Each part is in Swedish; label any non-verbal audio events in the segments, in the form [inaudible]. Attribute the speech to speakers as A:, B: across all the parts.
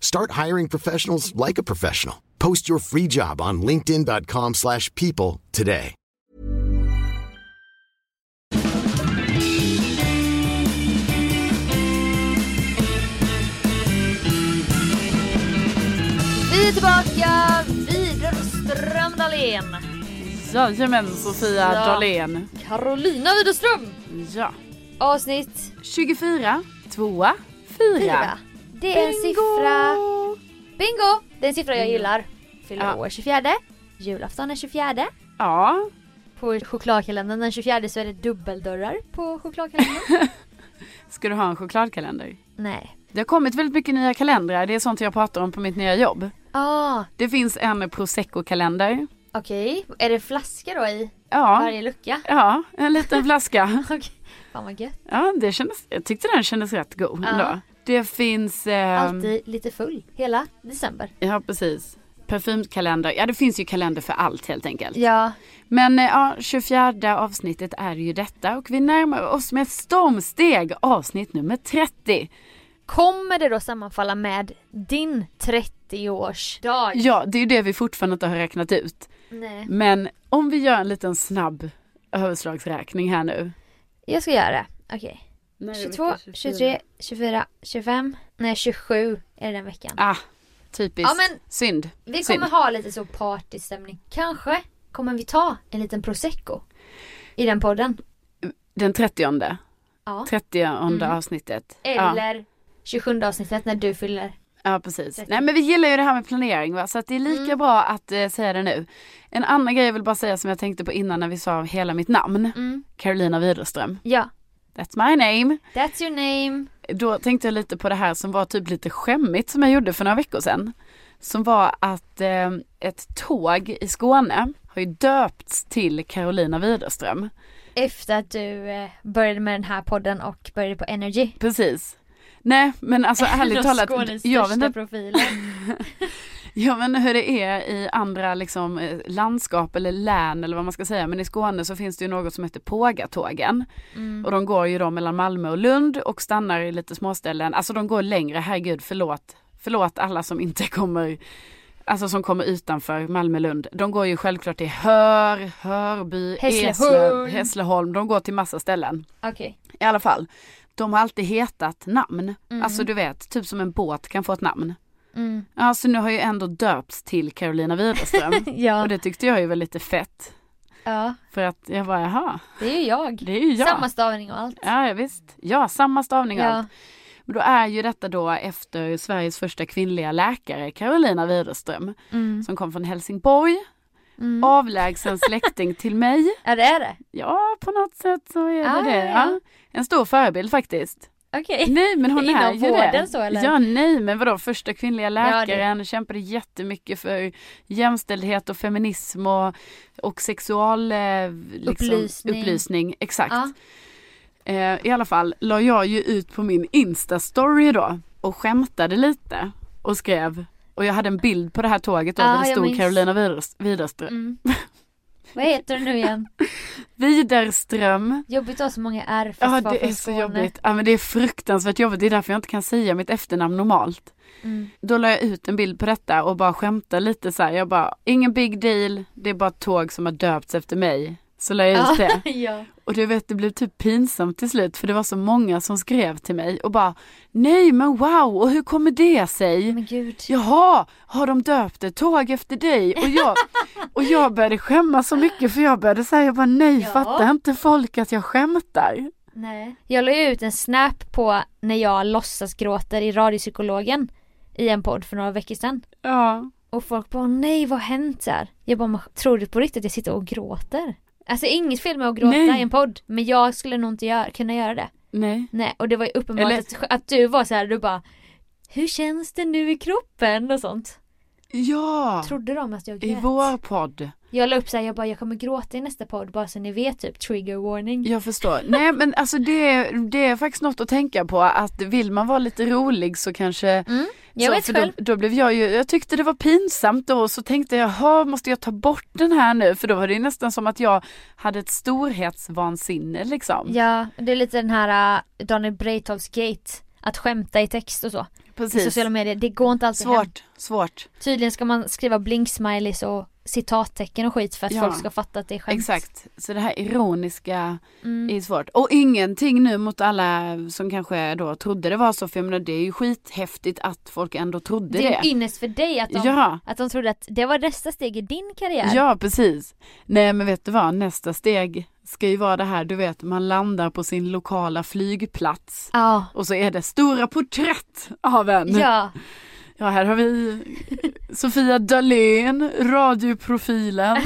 A: Start hiring professionals like a professional. Post your free job on linkedin.com/people slash people today.
B: Vi är tillbaka vid Ström Dahlén.
C: Jajamän Sofia
B: Ja.
C: Dahlén.
B: Carolina Widerström.
C: Ja.
B: Avsnitt
C: 24, 2, 4.
B: fyra. Det är en siffra. Bingo! Det är en siffra jag gillar. Fyller
C: Ja.
B: år 24. Julafton den 24.
C: Ja.
B: På chokladkalendern den 24 så är det dubbeldörrar på chokladkalendern.
C: [laughs] Ska du ha en chokladkalender?
B: Nej.
C: Det har kommit väldigt mycket nya kalendrar. Det är sånt jag pratar om på mitt nya jobb.
B: Ah,
C: Det finns en prosecco-kalender.
B: okej. Är det flaska då i
C: Ja.
B: varje lucka? [laughs]
C: Ja, en liten flaska.
B: Okej. Fan vad gött.
C: Ja, det kändes, jag tyckte den kändes rätt god
B: Ja.
C: ändå. Det finns... ehm,
B: Alltid lite full. Hela december.
C: Ja, precis. Parfymkalender. Ja, det finns ju kalender för allt helt enkelt.
B: Ja.
C: Men eh, ja, 24 avsnittet är ju detta och vi närmar oss med stormsteg avsnitt nummer 30.
B: Kommer det då sammanfalla med din 30-årsdag?
C: Ja, det är ju det vi fortfarande inte har räknat ut.
B: Nej.
C: Men om vi gör en liten snabb överslagsräkning här nu.
B: Jag ska göra det. Okej. 22, 23, 24, 25. Nej 27 är det den veckan.
C: Ah, typiskt.
B: Ja, men-
C: Synd.
B: Vi
C: Synd.
B: kommer ha lite så partystämning. Kanske kommer vi ta en liten prosecco i den podden.
C: Den 30.
B: Ja. Mm.
C: 30 avsnittet. Ja,
B: Eller 27 avsnittet när du fyller.
C: ja, precis.
B: 30.
C: Nej, men vi gillar ju det här med planering va? så att det är lika bra att eh, säga det nu. En annan grej jag vill bara säga som jag tänkte på innan när vi sa hela mitt namn.
B: Mm.
C: Carolina Widerström.
B: Ja.
C: That's my name.
B: That's your name.
C: Då tänkte jag lite på det här som var typ lite skämmigt som jag gjorde för några veckor sedan. Som var att eh, ett tåg i Skåne har ju döpts till Carolina Widerström.
B: Efter att du eh, började med den här podden och började på Energy.
C: Precis. Nej
B: [laughs]
C: men alltså [laughs] ärligt talat, jag
B: jag
C: vet, inte,
B: profilen.
C: jag vet inte hur det är i andra liksom, eh, landskap eller län eller vad man ska säga men i Skåne så finns det ju något som heter Pågatågen. Och de går ju då mellan Malmö och Lund och stannar i lite småställen. Alltså de går längre, herregud förlåt. Förlåt alla som inte [laughs] kommer, alltså som kommer utanför Malmö, Lund. De går ju självklart till Hör, Hörby,
B: Hässleholm.
C: Eslöv, Hässleholm. De går till massa ställen.
B: Okej.
C: I alla fall. De har alltid hetat namn. Alltså du vet, typ som en båt kan få ett namn.
B: Mm.
C: Ja, så nu har ju ändå döpts till Carolina Widerström.
B: [laughs] Ja.
C: och det tyckte jag ju var lite fett.
B: ja.
C: För att jag bara, jaha,
B: Det är ju jag.
C: det är ju jag.
B: Samma stavning och allt.
C: Ja, ja, visst. Ja, samma stavning och
B: Ja.
C: allt. Men då är ju detta då efter Sveriges första kvinnliga läkare, Carolina Widerström,
B: Mm.
C: som kom från Helsingborg,
B: Mm.
C: avlägsen släkting
B: [laughs]
C: till mig.
B: Ja det är det.
C: Ja, på något sätt så är det
B: Ah,
C: det.
B: ja.
C: Ja. En stor förebild faktiskt.
B: Okej.
C: [laughs] Nej, men hon
B: Inom
C: är ju det.
B: vården så, eller?
C: Ja, nej, men vadå, första kvinnliga
B: det-
C: läkaren, kämpade jättemycket för jämställdhet och feminism och, och sexual eh, liksom,
B: Upplysning.
C: upplysning. Exakt.
B: Ja.
C: Eh, I alla fall la jag ju ut på min Insta-story då och skämtade lite och skrev och jag hade en bild på det här tåget då
B: Ja,
C: där det
B: jag
C: stod
B: minns.
C: Carolina Widers- Widerström.
B: Mm. Vad heter det nu igen?
C: Widerström.
B: Jobbigt att ha så många R fast
C: Ja
B: vara
C: det
B: från
C: är så
B: Skåne.
C: jobbigt. Ja men det är fruktansvärt jobbigt. Det är därför jag inte kan säga mitt efternamn normalt.
B: Mm.
C: Då la jag ut en bild på detta och bara skämtade lite så här. Jag bara, ingen big deal. Det är bara ett tåg som har döpts efter mig. Så la jag ut
B: [laughs]
C: det.
B: ja.
C: Och du vet det blev typ pinsamt till slut för det var så många som skrev till mig och bara Nej men wow och hur kommer det sig?
B: Men gud.
C: Jaha, har de döpt ett tåg efter dig?
B: [laughs]
C: Och jag, och jag började skämmas så mycket för jag började säga jag bara nej
B: Ja.
C: fattar inte folk att jag skämtar?
B: Nej. Jag la ju ut en snap på när jag låtsas gråter i radiopsykologen i en podd för några veckor sedan.
C: Ja,
B: Och folk bara nej vad har hänt så här? Jag bara "Men tror du på riktigt att jag sitter och gråter? Alltså inget fel med att gråta
C: Nej.
B: i en podd men jag skulle nog inte göra, kunna göra det.
C: nej.
B: Nej och det var ju uppenbart
C: Eller-
B: att, att du var så här, du bara Hur känns det nu i kroppen och sånt?
C: Ja,
B: Trodde de att jag grät?
C: i vår podd.
B: Jag la upp så här, jag bara jag kommer gråta i nästa podd bara så ni vet typ trigger warning. [laughs]
C: Jag förstår. Nej men alltså det, det är faktiskt något att tänka på att vill man vara lite rolig så kanske
B: Mm, jag
C: så,
B: vet
C: för då,
B: själv.
C: då blev jag ju, jag tyckte det var pinsamt då och så tänkte jag, jaha måste jag ta bort den här nu? För då var det ju nästan som att jag hade ett storhetsvansinne liksom.
B: Ja, det är lite den här äh, Daniel Breitholtz gate. Att skämta i text och så. I
C: Precis.
B: sociala medier, det går inte alltid hem.
C: Svårt, svårt.
B: Tydligen ska man skriva blinksmileys och citattecken och skit för att
C: Ja.
B: folk ska fatta att det är skämt.
C: Exakt. Så det här ironiska
B: Mm.
C: är svårt. Och ingenting nu mot alla som kanske då trodde det var så, för jag menar det är ju skithäftigt att folk ändå trodde
B: Det är
C: det.
B: en ynnest för dig att de,
C: Ja.
B: att de trodde att det var nästa steg i din karriär.
C: Ja precis. Nej men vet du vad, nästa steg ska ju vara det här, du vet man landar på sin lokala flygplats
B: Ja.
C: och så är det stora porträtt av en.
B: Ja.
C: Ja, här har vi Sofia Dalén,
B: [laughs]
C: radioprofilen.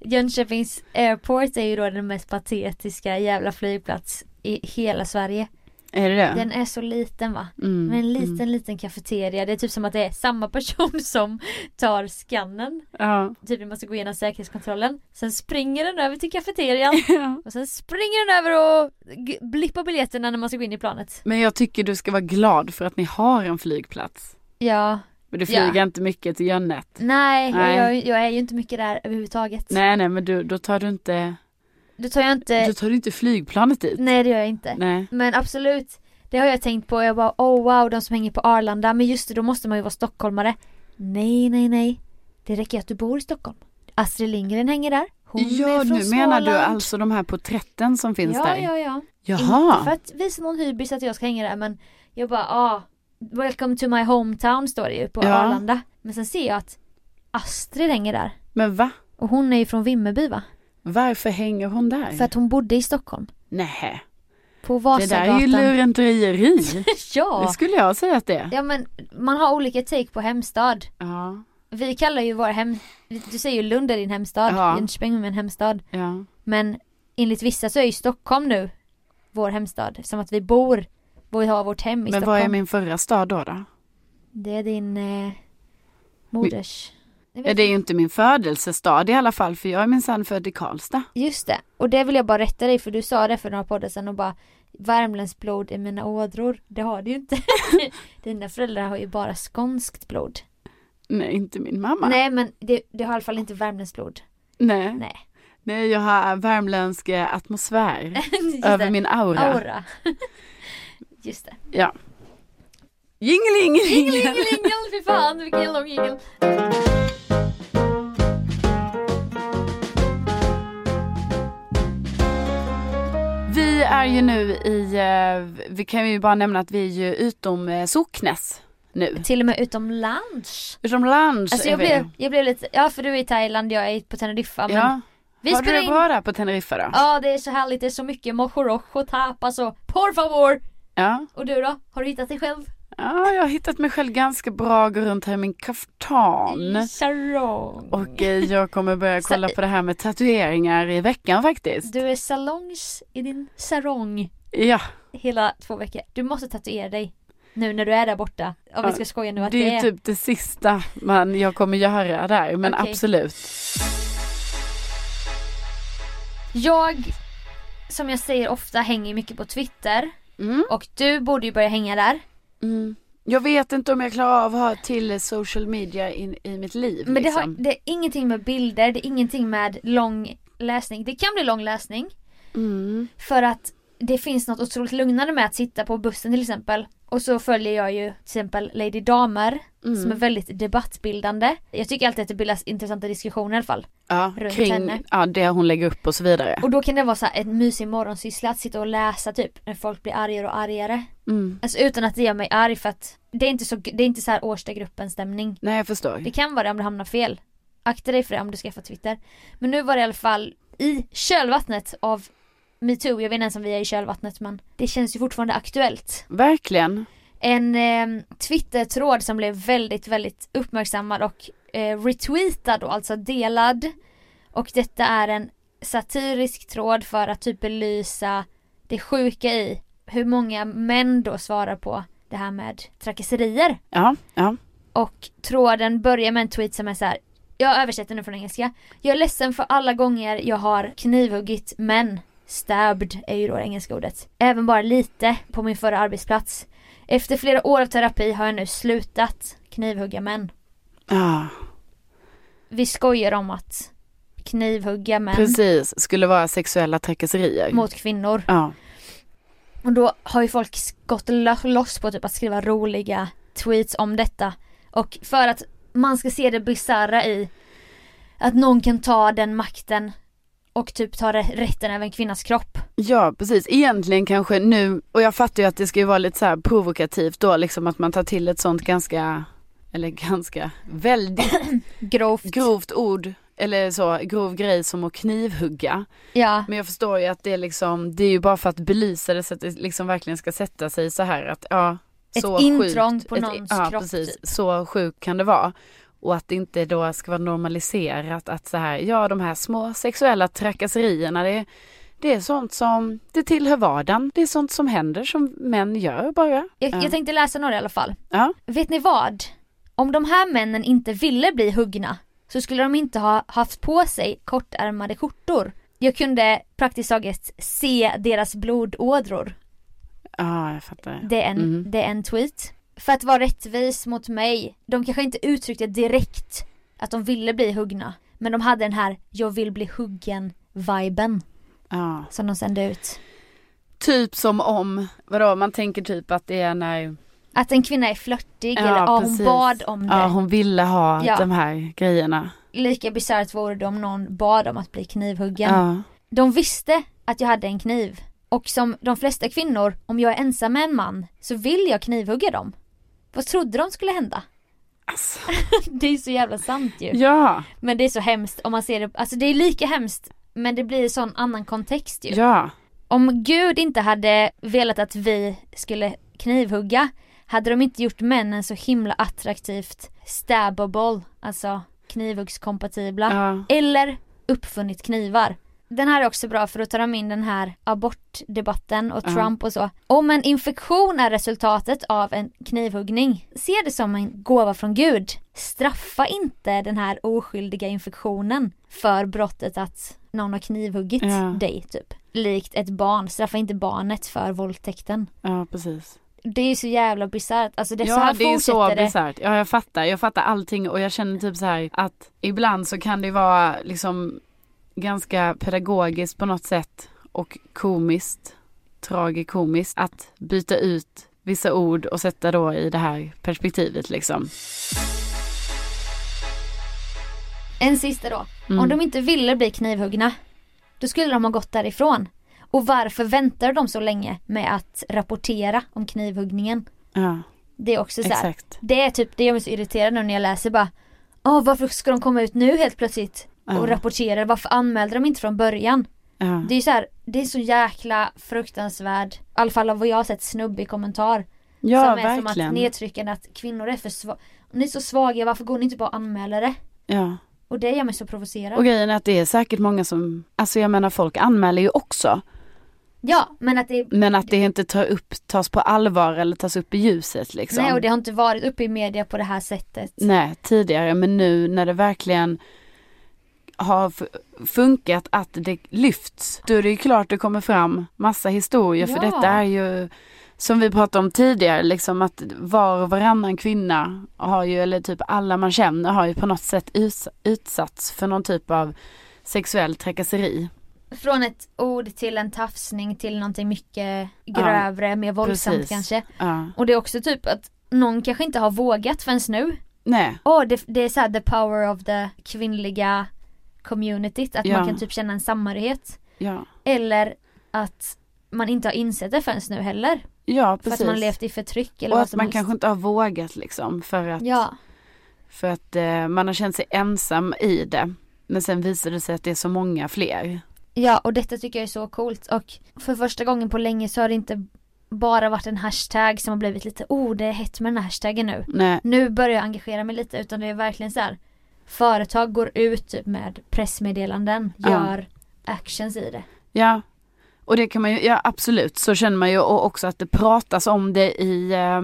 B: Jönköpings airport är ju då den mest patetiska jävla flygplats i hela Sverige.
C: Är det det?
B: Den är så liten va?
C: Mm,
B: Med en
C: mm.
B: liten liten kafeteria. Det är typ som att det är samma person [laughs] som tar skannen.
C: Ja. [laughs]
B: Typ vi måste gå igenom säkerhetskontrollen. Sen springer den över till kafeterian.
C: [laughs]
B: Och sen springer den över och g- blippar biljetterna när man ska gå in i planet.
C: Men jag tycker du ska vara glad för att ni har en flygplats.
B: Ja.
C: Men du flyger
B: Ja.
C: inte mycket till Jönnet.
B: Nej,
C: Nej.
B: Jag, jag är ju inte mycket där överhuvudtaget.
C: Nej, nej, men du, då tar du inte,
B: Då tar jag inte...
C: då tar du inte flygplanet dit.
B: Eh. Nej det gör jag inte.
C: Nej.
B: Men absolut, det har jag tänkt på. Jag bara oh wow, de som hänger på Arlanda. Men just det, då måste man ju vara stockholmare. Nej, nej, nej. Det räcker att du bor i Stockholm. Astrid Lindgren hänger där. Hon
C: Ja,
B: är från
C: nu menar du
B: Småland.
C: alltså de här porträtten som finns
B: ja,
C: där?
B: Ja, ja, Inte för
C: Jaha.
B: att visa någon hybris att jag ska hänga där men jag bara ah, Welcome to my hometown står det ju på
C: Ja.
B: Arlanda. Men sen ser jag att Astrid hänger där.
C: Men va?
B: Och hon är ju från Vimmerby va?
C: Varför hänger hon där?
B: För att hon bodde i Stockholm.
C: Nej,
B: På
C: det där är ju
B: Vasagatan.
C: lurendrejeri. Det
B: [laughs] ja!
C: skulle jag säga att det är.
B: Ja men man har olika take på hemstad.
C: Ja,
B: Vi kallar ju vår hem... Du säger ju Lund är din hemstad,
C: Ja.
B: Jönköping är min hemstad.
C: ja.
B: Men enligt vissa så är ju Stockholm nu vår hemstad. Som att vi bor, vi har vårt hem i
C: Men
B: Stockholm.
C: vad är min förra stad då? då?
B: Det är din eh, moders... Jag
C: Ja,
B: vet
C: det är ju
B: inte.
C: inte min födelsestad i alla fall för jag är minsann född i Karlstad.
B: Just det, och det vill jag bara rätta dig för du sa det för några poddar sedan och bara Värmlands blod är mina ådror, det har du ju inte. [laughs] Dina föräldrar har ju bara skånskt blod.
C: Nej, inte min mamma.
B: Nej men det, det har i alla fall inte Värmlands blod.
C: Nej.
B: Nej. [laughs]
C: Nej, jag har värmländsk eh, atmosfär
B: Just
C: över
B: det.
C: min aura.
B: aura. [laughs] Just
C: [laughs]
B: det.
C: Ja. Jingling,
B: Jingel, jingel, fy fan vilken lång jingel.
C: Vi är ju nu i, eh, vi kan ju bara nämna att vi är ju utom eh, Socknes nu.
B: Till och med utomlands.
C: Utomlands
B: Alltså
C: är
B: jag
C: vi.
B: blev, jag blev lite, ja för du är i Thailand, jag är på Teneriffa men
C: ja.
B: vi
C: Har du
B: spelar
C: det
B: in
C: bra där på Teneriffa då?
B: Ja det är så härligt, det är så mycket mojorocho, tapas och alltså, por favor!
C: Ja.
B: Och du då? Har du hittat dig själv?
C: ja, jag har hittat mig själv ganska bra, går runt här i min kaftan.
B: Sarong.
C: Och eh, jag kommer börja
B: Så-
C: kolla på det här med tatueringar i veckan faktiskt.
B: Du är salongs i din sarong
C: Ja,
B: hela två veckor. Du måste tatuera dig nu när du är där borta. Om vi
C: Ja,
B: ska skoja nu att
C: det
B: det
C: är
B: är...
C: typ det sista man jag kommer göra där, men
B: Okej.
C: absolut.
B: Jag, som jag säger ofta, hänger mycket på Twitter.
C: Mm.
B: Och du borde ju börja hänga där.
C: Mm. Jag vet inte om jag klarar av att ha till social media in, i mitt liv.
B: Men det, har,
C: liksom.
B: det är ingenting med bilder, det är ingenting med lång läsning. Det kan bli lång läsning.
C: Mm.
B: För att det finns något otroligt lugnande med att sitta på bussen till exempel. Och så följer jag ju till exempel Lady Damer
C: Mm.
B: som är väldigt debattbildande. Jag tycker alltid att det bildas intressanta diskussioner i alla fall.
C: Ja,
B: runt henne.
C: kring ja, det hon lägger upp och så vidare.
B: Och då kan det vara så här en mysig morgonsyssla att sitta och läsa typ när folk blir argare och argare.
C: Mm.
B: Alltså utan att det gör mig arg för att det är inte så, det är inte så här årsta gruppen stämning.
C: Nej jag förstår.
B: Det kan vara det om du hamnar fel. Akta dig för det om du skaffar Twitter. Men nu var det i alla fall i kölvattnet av metoo, jag vet inte ens om vi är i kölvattnet men det känns ju fortfarande aktuellt.
C: Verkligen.
B: En eh, Twitter-tråd som blev väldigt, väldigt uppmärksammad och eh, retweetad och alltså delad. Och detta är en satirisk tråd för att typ belysa det sjuka i hur många män då svarar på det här med trakasserier.
C: Ja, ja.
B: Och tråden börjar med en tweet som är så här. Jag översätter nu från engelska. Jag är ledsen för alla gånger jag har knivhuggit män. Stabbed är ju då det engelska ordet. Även bara lite på min förra arbetsplats. Efter flera år av terapi har jag nu slutat knivhugga män.
C: ja.
B: Vi skojar om att knivhugga män
C: Precis, skulle vara sexuella trakasserier.
B: mot kvinnor.
C: Ja.
B: Och då har ju folk gått lo- loss på typ att skriva roliga tweets om detta. Och för att man ska se det bisarra i att någon kan ta den makten och typ ta re- rätten över en kvinnas kropp.
C: ja, precis. Egentligen kanske nu, och jag fattar ju att det ska ju vara lite så här provokativt då, liksom att man tar till ett sånt ganska, eller ganska,
B: [laughs]
C: väldigt
B: Grovt.
C: grovt ord, eller så, grov grej som att knivhugga.
B: Ja.
C: Men jag förstår ju att det är liksom, det är ju bara för att belysa det så att det liksom verkligen ska sätta sig så här att ja,
B: Ett
C: så
B: intrång
C: sjukt,
B: på någons
C: ja,
B: kropp,
C: Precis,
B: typ.
C: så sjukt kan det vara. Och att det inte då ska vara normaliserat att så här, ja de här små sexuella trakasserierna det, det är sånt som, det tillhör vardagen. Det är sånt som händer som män gör bara. Eh,
B: Jag, jag tänkte läsa några i alla fall.
C: Ja,
B: Vet ni vad? Om de här männen inte ville bli huggna så skulle de inte ha haft på sig kortärmade skjortor. Jag kunde praktiskt taget se deras blodådror.
C: ja jag fattar.
B: Det är, en,
C: Mm.
B: det är en tweet. För att vara rättvis mot mig, de kanske inte uttryckte direkt att de ville bli huggna. Men de hade den här jag vill bli huggen viben
C: Ja.
B: som de sände ut.
C: Typ som om, vadå man tänker typ att det är när
B: Att en kvinna är flörtig eller ja, hon
C: precis.
B: bad om det.
C: Ja, hon ville ha
B: Ja.
C: de här grejerna.
B: Lika bisarrt vore det om någon bad om att bli knivhuggen.
C: Ja.
B: De visste att jag hade en kniv. Och som de flesta kvinnor, om jag är ensam med en man så vill jag knivhugga dem. Vad trodde de skulle hända? [laughs]
C: Alltså.
B: Det är så jävla sant ju.
C: Ja,
B: Men det är så hemskt om man ser det, alltså det är lika hemskt men det blir i sån annan kontext ju.
C: ja,
B: Om Gud inte hade velat att vi skulle knivhugga hade de inte gjort männen så himla attraktivt stabbable, alltså knivhuggskompatibla.
C: ja.
B: Eller uppfunnit knivar. Den här är också bra för då tar de in den här abortdebatten och
C: Ja.
B: Trump och så. Om en infektion är resultatet av en knivhuggning, se det som en gåva från Gud. Straffa inte den här oskyldiga infektionen för brottet att någon har knivhuggit
C: Ja.
B: dig typ. Likt ett barn, straffa inte barnet för våldtäkten.
C: ja precis.
B: Det är ju så jävla bisarrt, alltså det, så
C: Ja,
B: här
C: det är så
B: fortsätter det.
C: bisarrt. Ja, jag fattar. Jag fattar allting och jag känner typ så här att ibland så kan det vara liksom ganska pedagogiskt på något sätt och komiskt, tragikomiskt att byta ut vissa ord och sätta då i det här perspektivet liksom.
B: En sista då.
C: Mm.
B: Om de inte ville bli knivhuggna, då skulle de ha gått därifrån. Och varför väntar de så länge med att rapportera om knivhuggningen?
C: Ja,
B: Det är också så här.
C: exakt.
B: Det är typ, det gör mig så irriterad nu när jag läser bara Åh varför ska de komma ut nu helt plötsligt? Och
C: Ja.
B: rapportera, varför anmälde de inte från början?
C: Ja.
B: Det är ju så här, det är så jäkla fruktansvärd, i alla fall av vad jag har sett, snubbig kommentar.
C: Ja,
B: som är som att
C: verkligen.
B: nedtryckande att kvinnor är för svaga, ni är så svaga, varför går ni inte bara och anmäler det?
C: Ja.
B: Och det gör mig så provocerad.
C: Och grejen är att det är säkert många som, alltså jag menar folk anmäler ju också.
B: Ja, men att det är
C: Men att det inte tar upp, tas på allvar eller tas upp i ljuset liksom.
B: Nej och det har inte varit uppe i media på det här sättet.
C: Nej, tidigare men nu när det verkligen har fu- funkat att det lyfts. Då är det ju klart det kommer fram massa historier för
B: Ja.
C: detta är ju som vi pratade om tidigare, liksom att var och varannan kvinna har ju, eller typ alla man känner har ju på något sätt us- utsatts för någon typ av sexuell trakasseri.
B: Från ett ord till en tafsning till någonting mycket grövre, mer våldsamt
C: precis.
B: kanske.
C: Ja.
B: Och det är också typ att någon kanske inte har vågat förrän nu.
C: Nej,
B: Åh, det, det är såhär the power of the kvinnliga communityt, att
C: Ja.
B: man kan typ känna en samhörighet.
C: ja.
B: Eller att man inte har insett det förrän nu heller.
C: Ja,
B: För
C: precis.
B: att man har levt i förtryck eller
C: och
B: vad
C: att
B: som
C: man
B: helst.
C: kanske inte har vågat liksom för att,
B: Ja,
C: för att eh, man har känt sig ensam i det. Men sen visar det sig att det är så många fler.
B: ja och detta tycker jag är så coolt och för första gången på länge så har det inte bara varit en hashtag som har blivit lite oh det är hett med den här hashtaggen nu.
C: Nej,
B: Nu börjar jag engagera mig lite utan det är verkligen så här företag går ut typ med pressmeddelanden,
C: Ja.
B: gör actions i det.
C: ja. Och det kan man ju, ja absolut, så känner man ju och också att det pratas om det i, eh,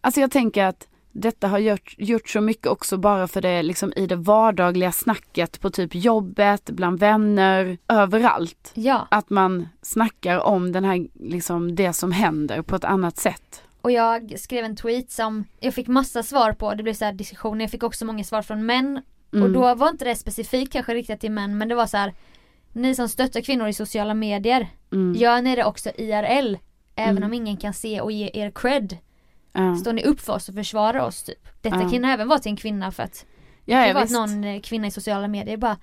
C: alltså jag tänker att detta har gjort, gjort så mycket också bara för det liksom i det vardagliga snacket på typ jobbet, bland vänner, överallt.
B: Ja,
C: Att man snackar om den här, liksom det som händer på ett annat sätt.
B: och jag skrev en tweet som jag fick massa svar på, det blev så här diskussioner, jag fick också många svar från män och
C: Mm.
B: då var inte det specifikt kanske riktat till män men det var så här ni som stöttar kvinnor i sociala medier,
C: Mm.
B: gör ni det också IRL? Även
C: Mm.
B: om ingen kan se och ge er cred,
C: Ja.
B: står ni upp för oss och försvarar oss typ? Detta
C: Ja.
B: kan även vara till en kvinna för att
C: Ja,
B: det
C: ja,
B: var att
C: visst.
B: någon eh, kvinna i sociala medier bara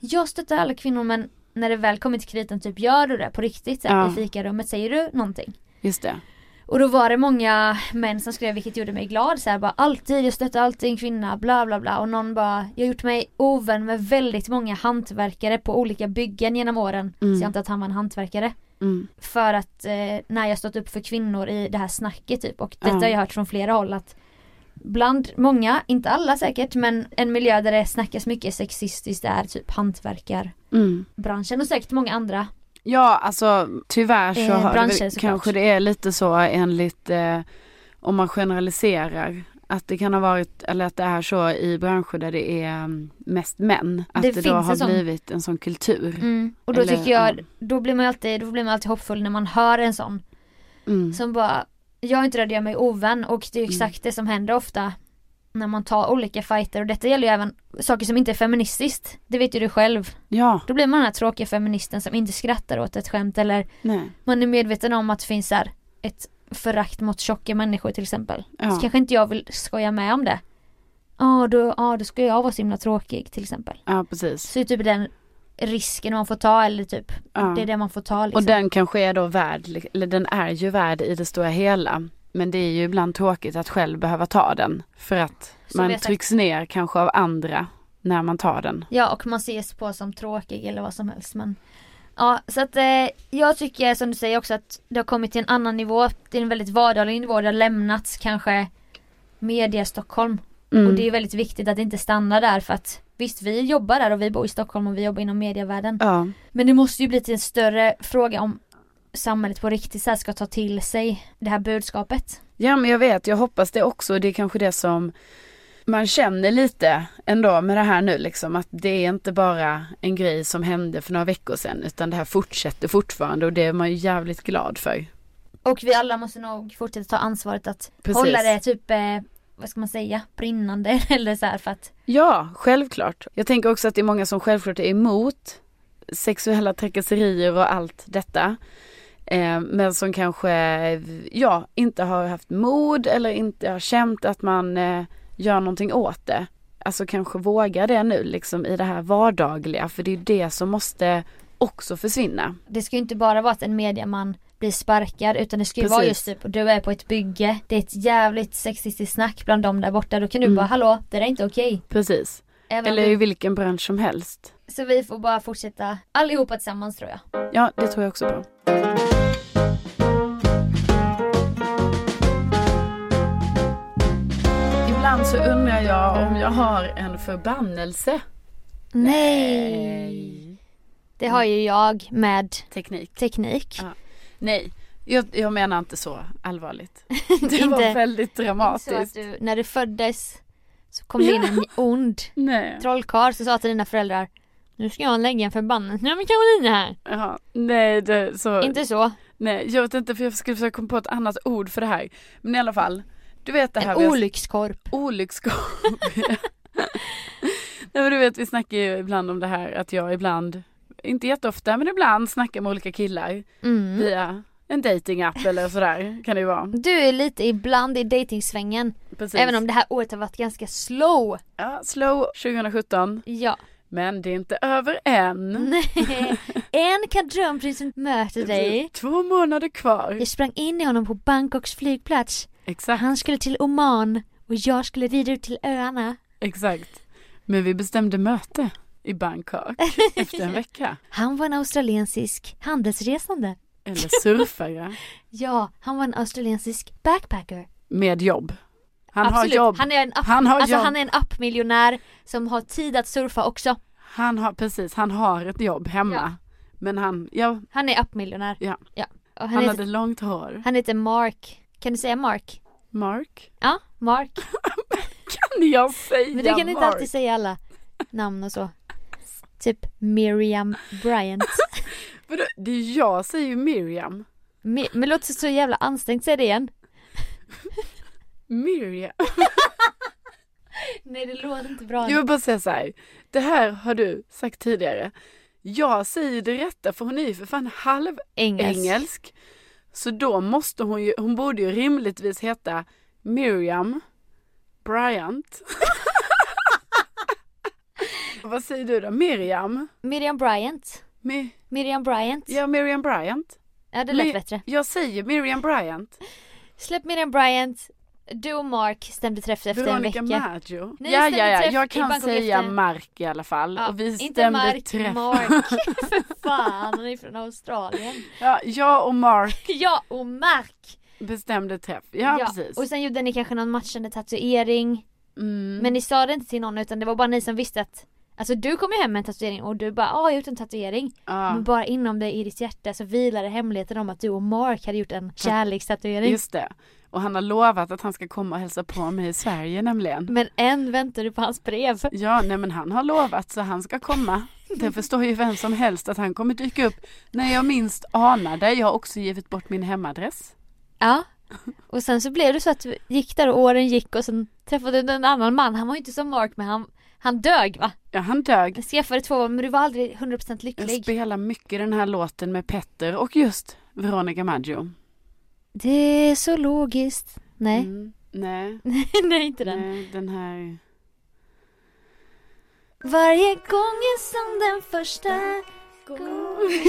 B: Jag stöttar alla kvinnor men när det väl kommer till kritan typ gör du det på riktigt så här,
C: Ja.
B: i fikarummet säger du någonting?
C: Just det.
B: Och då var det många män som skrev vilket gjorde mig glad så här, bara alltid jag stöttar alltid en kvinna bla bla bla och någon bara jag har gjort mig ovän med väldigt många hantverkare på olika byggen genom åren så jag antar att han var en hantverkare
C: Mm.
B: för att eh, när jag stått upp för kvinnor i det här snacket typ och detta
C: Ja.
B: har jag hört från flera håll att bland många, inte alla säkert men en miljö där det snackas mycket sexistiskt är typ hantverkarbranschen
C: Mm.
B: och säkert många andra.
C: Ja, alltså tyvärr så
B: Eh,
C: har det
B: branscher
C: väl,
B: såklart.
C: kanske det är lite så enligt eh, om man generaliserar att det kan ha varit eller att det är så i branscher där det är mm, mest män. Att
B: Det
C: det,
B: finns
C: då
B: en
C: har
B: sån- Mm.
C: blivit en sån kultur.
B: Och då
C: Eller,
B: tycker jag,
C: ja.
B: då blir man ju alltid, då blir man alltid hoppfull när man hör en sån
C: Mm.
B: som bara jag är inte rädd, jag är mig ovän och det är ju exakt det som händer ofta när man tar olika fighter och detta gäller ju även saker som inte är feministiskt. Det vet ju du själv.
C: Ja,
B: Då blir man den här tråkiga feministen som inte skrattar åt ett skämt eller
C: nej.
B: man är medveten om att det finns så här ett förakt mot tjocka människor till exempel. Så
C: Ja,
B: kanske inte jag vill skoja med om det. Ja då, ja då ska jag vara så himla tråkig till exempel.
C: ja precis.
B: Så det är typ den risken man får ta eller typ
C: Ja.
B: det är det man får ta liksom.
C: Och den kanske är då värd, eller den är ju värd i det stora hela. Men det är ju ibland tråkigt att själv behöva ta den. För att
B: Som vi har
C: man
B: sagt.
C: trycks ner kanske av andra när man tar den.
B: Ja och man ses på som tråkig eller vad som helst men Ja så att eh, jag tycker som du säger också att det har kommit till en annan nivå till en väldigt vardaglig nivå det har lämnats kanske media Stockholm
C: Mm.
B: och det är väldigt viktigt att det inte stannar där för att visst vi jobbar där och vi bor i Stockholm och vi jobbar inom medievärlden
C: Ja,
B: men det måste ju bli till en större fråga om samhället på riktigt så här ska ta till sig det här budskapet
C: ja men jag vet, jag hoppas det också. Det är kanske det som man känner lite ändå med det här nu liksom att det är inte bara en grej som hände för några veckor sedan utan det här fortsätter fortfarande och det är man ju jävligt glad för.
B: och vi alla måste nog fortsätta ta ansvaret att
C: Precis.
B: hålla det typ eh, vad ska man säga brinnande [laughs] eller så här för att
C: Ja, självklart. Jag tänker också att det är många som självklart är emot sexuella trakasserier och allt detta. Eh, men som kanske, ja, inte har haft mod eller inte har känt att man eh, gör någonting åt det. Alltså kanske våga det nu liksom i det här vardagliga för det är ju det som måste också försvinna.
B: Det ska ju inte bara vara att en mediaman blir sparkad utan det ska ju vara
C: Precis.
B: just typ du är på ett bygge Det är ett jävligt sexistiskt snack bland dem där borta Då kan du bara hallå det där är inte okej
C: Precis.
B: Även om
C: Mm. Eller i
B: du...
C: vilken bransch som helst.
B: Så vi får bara fortsätta allihopa tillsammans tror jag
C: Ja, det tror jag också på. Ibland så undrar jag om jag har en förbannelse.
B: Nej Det har ju jag med
C: Teknik.
B: teknik
C: Ja. Nej, jag, jag menar inte så
B: [laughs]
C: allvarligt. Det
B: Inte-
C: var väldigt
B: Så att
C: dramatiskt.
B: du, när du föddes så kom det in en ond
C: Nej.
B: trollkarl som sa till dina föräldrar Nu ska jag lägga en förbannelse. Nu har vi Karolina här.
C: Jaha. Nej, det, så,
B: Inte så.
C: nej, jag vet inte för jag skulle försöka komma på ett annat ord för det här. Men i alla fall, du vet det här
B: En
C: vi har-
B: olyckskorp.
C: Olyckskorp. [laughs] Nej men du vet vi snackar ju ibland om det här att jag ibland, inte jätteofta men ibland snackar med olika killar
B: Mm.
C: via en datingapp eller sådär kan det ju vara.
B: Du är lite ibland i dejtingsvängen.
C: Precis.
B: Även om det här året har varit ganska slow.
C: ja, slow 2017
B: Ja.
C: men det är inte över än.
B: Nej. [laughs] en kardrömprinsen möter
C: Det blir
B: dig.
C: två månader kvar.
B: Jag sprang in i honom på Bangkoks flygplats.
C: Exakt,
B: Han skulle till Oman och jag skulle vidare ut till öarna.
C: exakt. Men vi bestämde möte i Bangkok
B: [laughs]
C: efter en vecka.
B: Han var en australiensisk handelsresande.
C: Eller surfare
B: Ja, han var en australiensisk backpacker.
C: med jobb. Han
B: Absolut.
C: har jobb.
B: Han är en app,
C: Han har
B: alltså
C: jobb.
B: han är en appmiljonär som har tid att surfa också.
C: Han har, precis, han har ett jobb hemma. Men han, ja,
B: Han är appmiljonär.
C: Ja.
B: ja. Och han,
C: han
B: heter,
C: hade långt hår.
B: han heter Mark. Kan du säga Mark?
C: Mark. [laughs]
B: Ja, Mark.
C: Kan jag säga
B: Men du kan inte
C: Mark?
B: alltid säga alla namn och så. Typ Miriam Bryant.
C: Vadå? Det är jag säger ju Miriam.
B: Mi- Men låter så jävla ansträngt, säg det igen.
C: Miriam.
B: Nej det låter inte bra.
C: Jag vill bara säga så här. Det här har du sagt tidigare. Jag säger det rätta för hon är ju för fan halv
B: Engelsk.
C: engelsk. Så då måste hon ju, hon borde ju rimligtvis heta Miriam
B: [laughs]
C: Bryant. Vad säger du då? Miriam?
B: Miriam Bryant.
C: Mi-
B: Miriam Bryant.
C: ja, Miriam Bryant.
B: Ja det lät
C: Mi-
B: bättre.
C: Jag säger Miriam Bryant.
B: Släpp Miriam Bryant. Du och Mark stämde träff [laughs] efter
C: Veronica
B: en vecka.
C: Maggio.
B: Ni
C: ja,
B: stämde
C: ja, ja.
B: träff i
C: Jag kan
B: Bangkok
C: säga
B: efter-
C: Mark i alla fall.
B: Ja,
C: och vi stämde
B: inte Mark,
C: träff.
B: Mark.
C: [laughs]
B: [laughs] För fan, han är från Australien.
C: Ja, jag och Mark
B: Ja, och Mark.
C: bestämde träff. Ja, precis.
B: Och sen gjorde ni kanske någon matchande tatuering.
C: Mm.
B: Men ni sa det inte till någon utan det var bara ni som visste att Alltså du kom ju hem med en tatuering och du bara ah, jag har gjort en tatuering.
C: ja.
B: Men bara inom dig i ditt hjärta så vilade hemligheten om att du och Mark hade gjort en kärlekstatuering.
C: Just det. Och han har lovat att han ska komma och hälsa på mig i Sverige nämligen.
B: Men än väntar du på hans brev.
C: Ja, nej men han har lovat så han ska komma. Det förstår ju vem som helst att han kommer dyka upp när jag minst anar det. Jag har också givit bort min hemadress.
B: Ja. Och sen så blev det så att du gick där och åren gick och sen träffade du en annan man. Han var ju inte som Mark men han, han dög va?
C: Ja, han dög.
B: Jag skaffade två men du var aldrig 100%
C: Jag
B: lycklig.
C: spelar mycket den här låten med Petter och just Veronica Maggio.
B: Det är så logiskt. Nej,
C: Mm, nej,
B: [laughs] nej inte den.
C: nej, den här.
B: Varje gång är som den första gången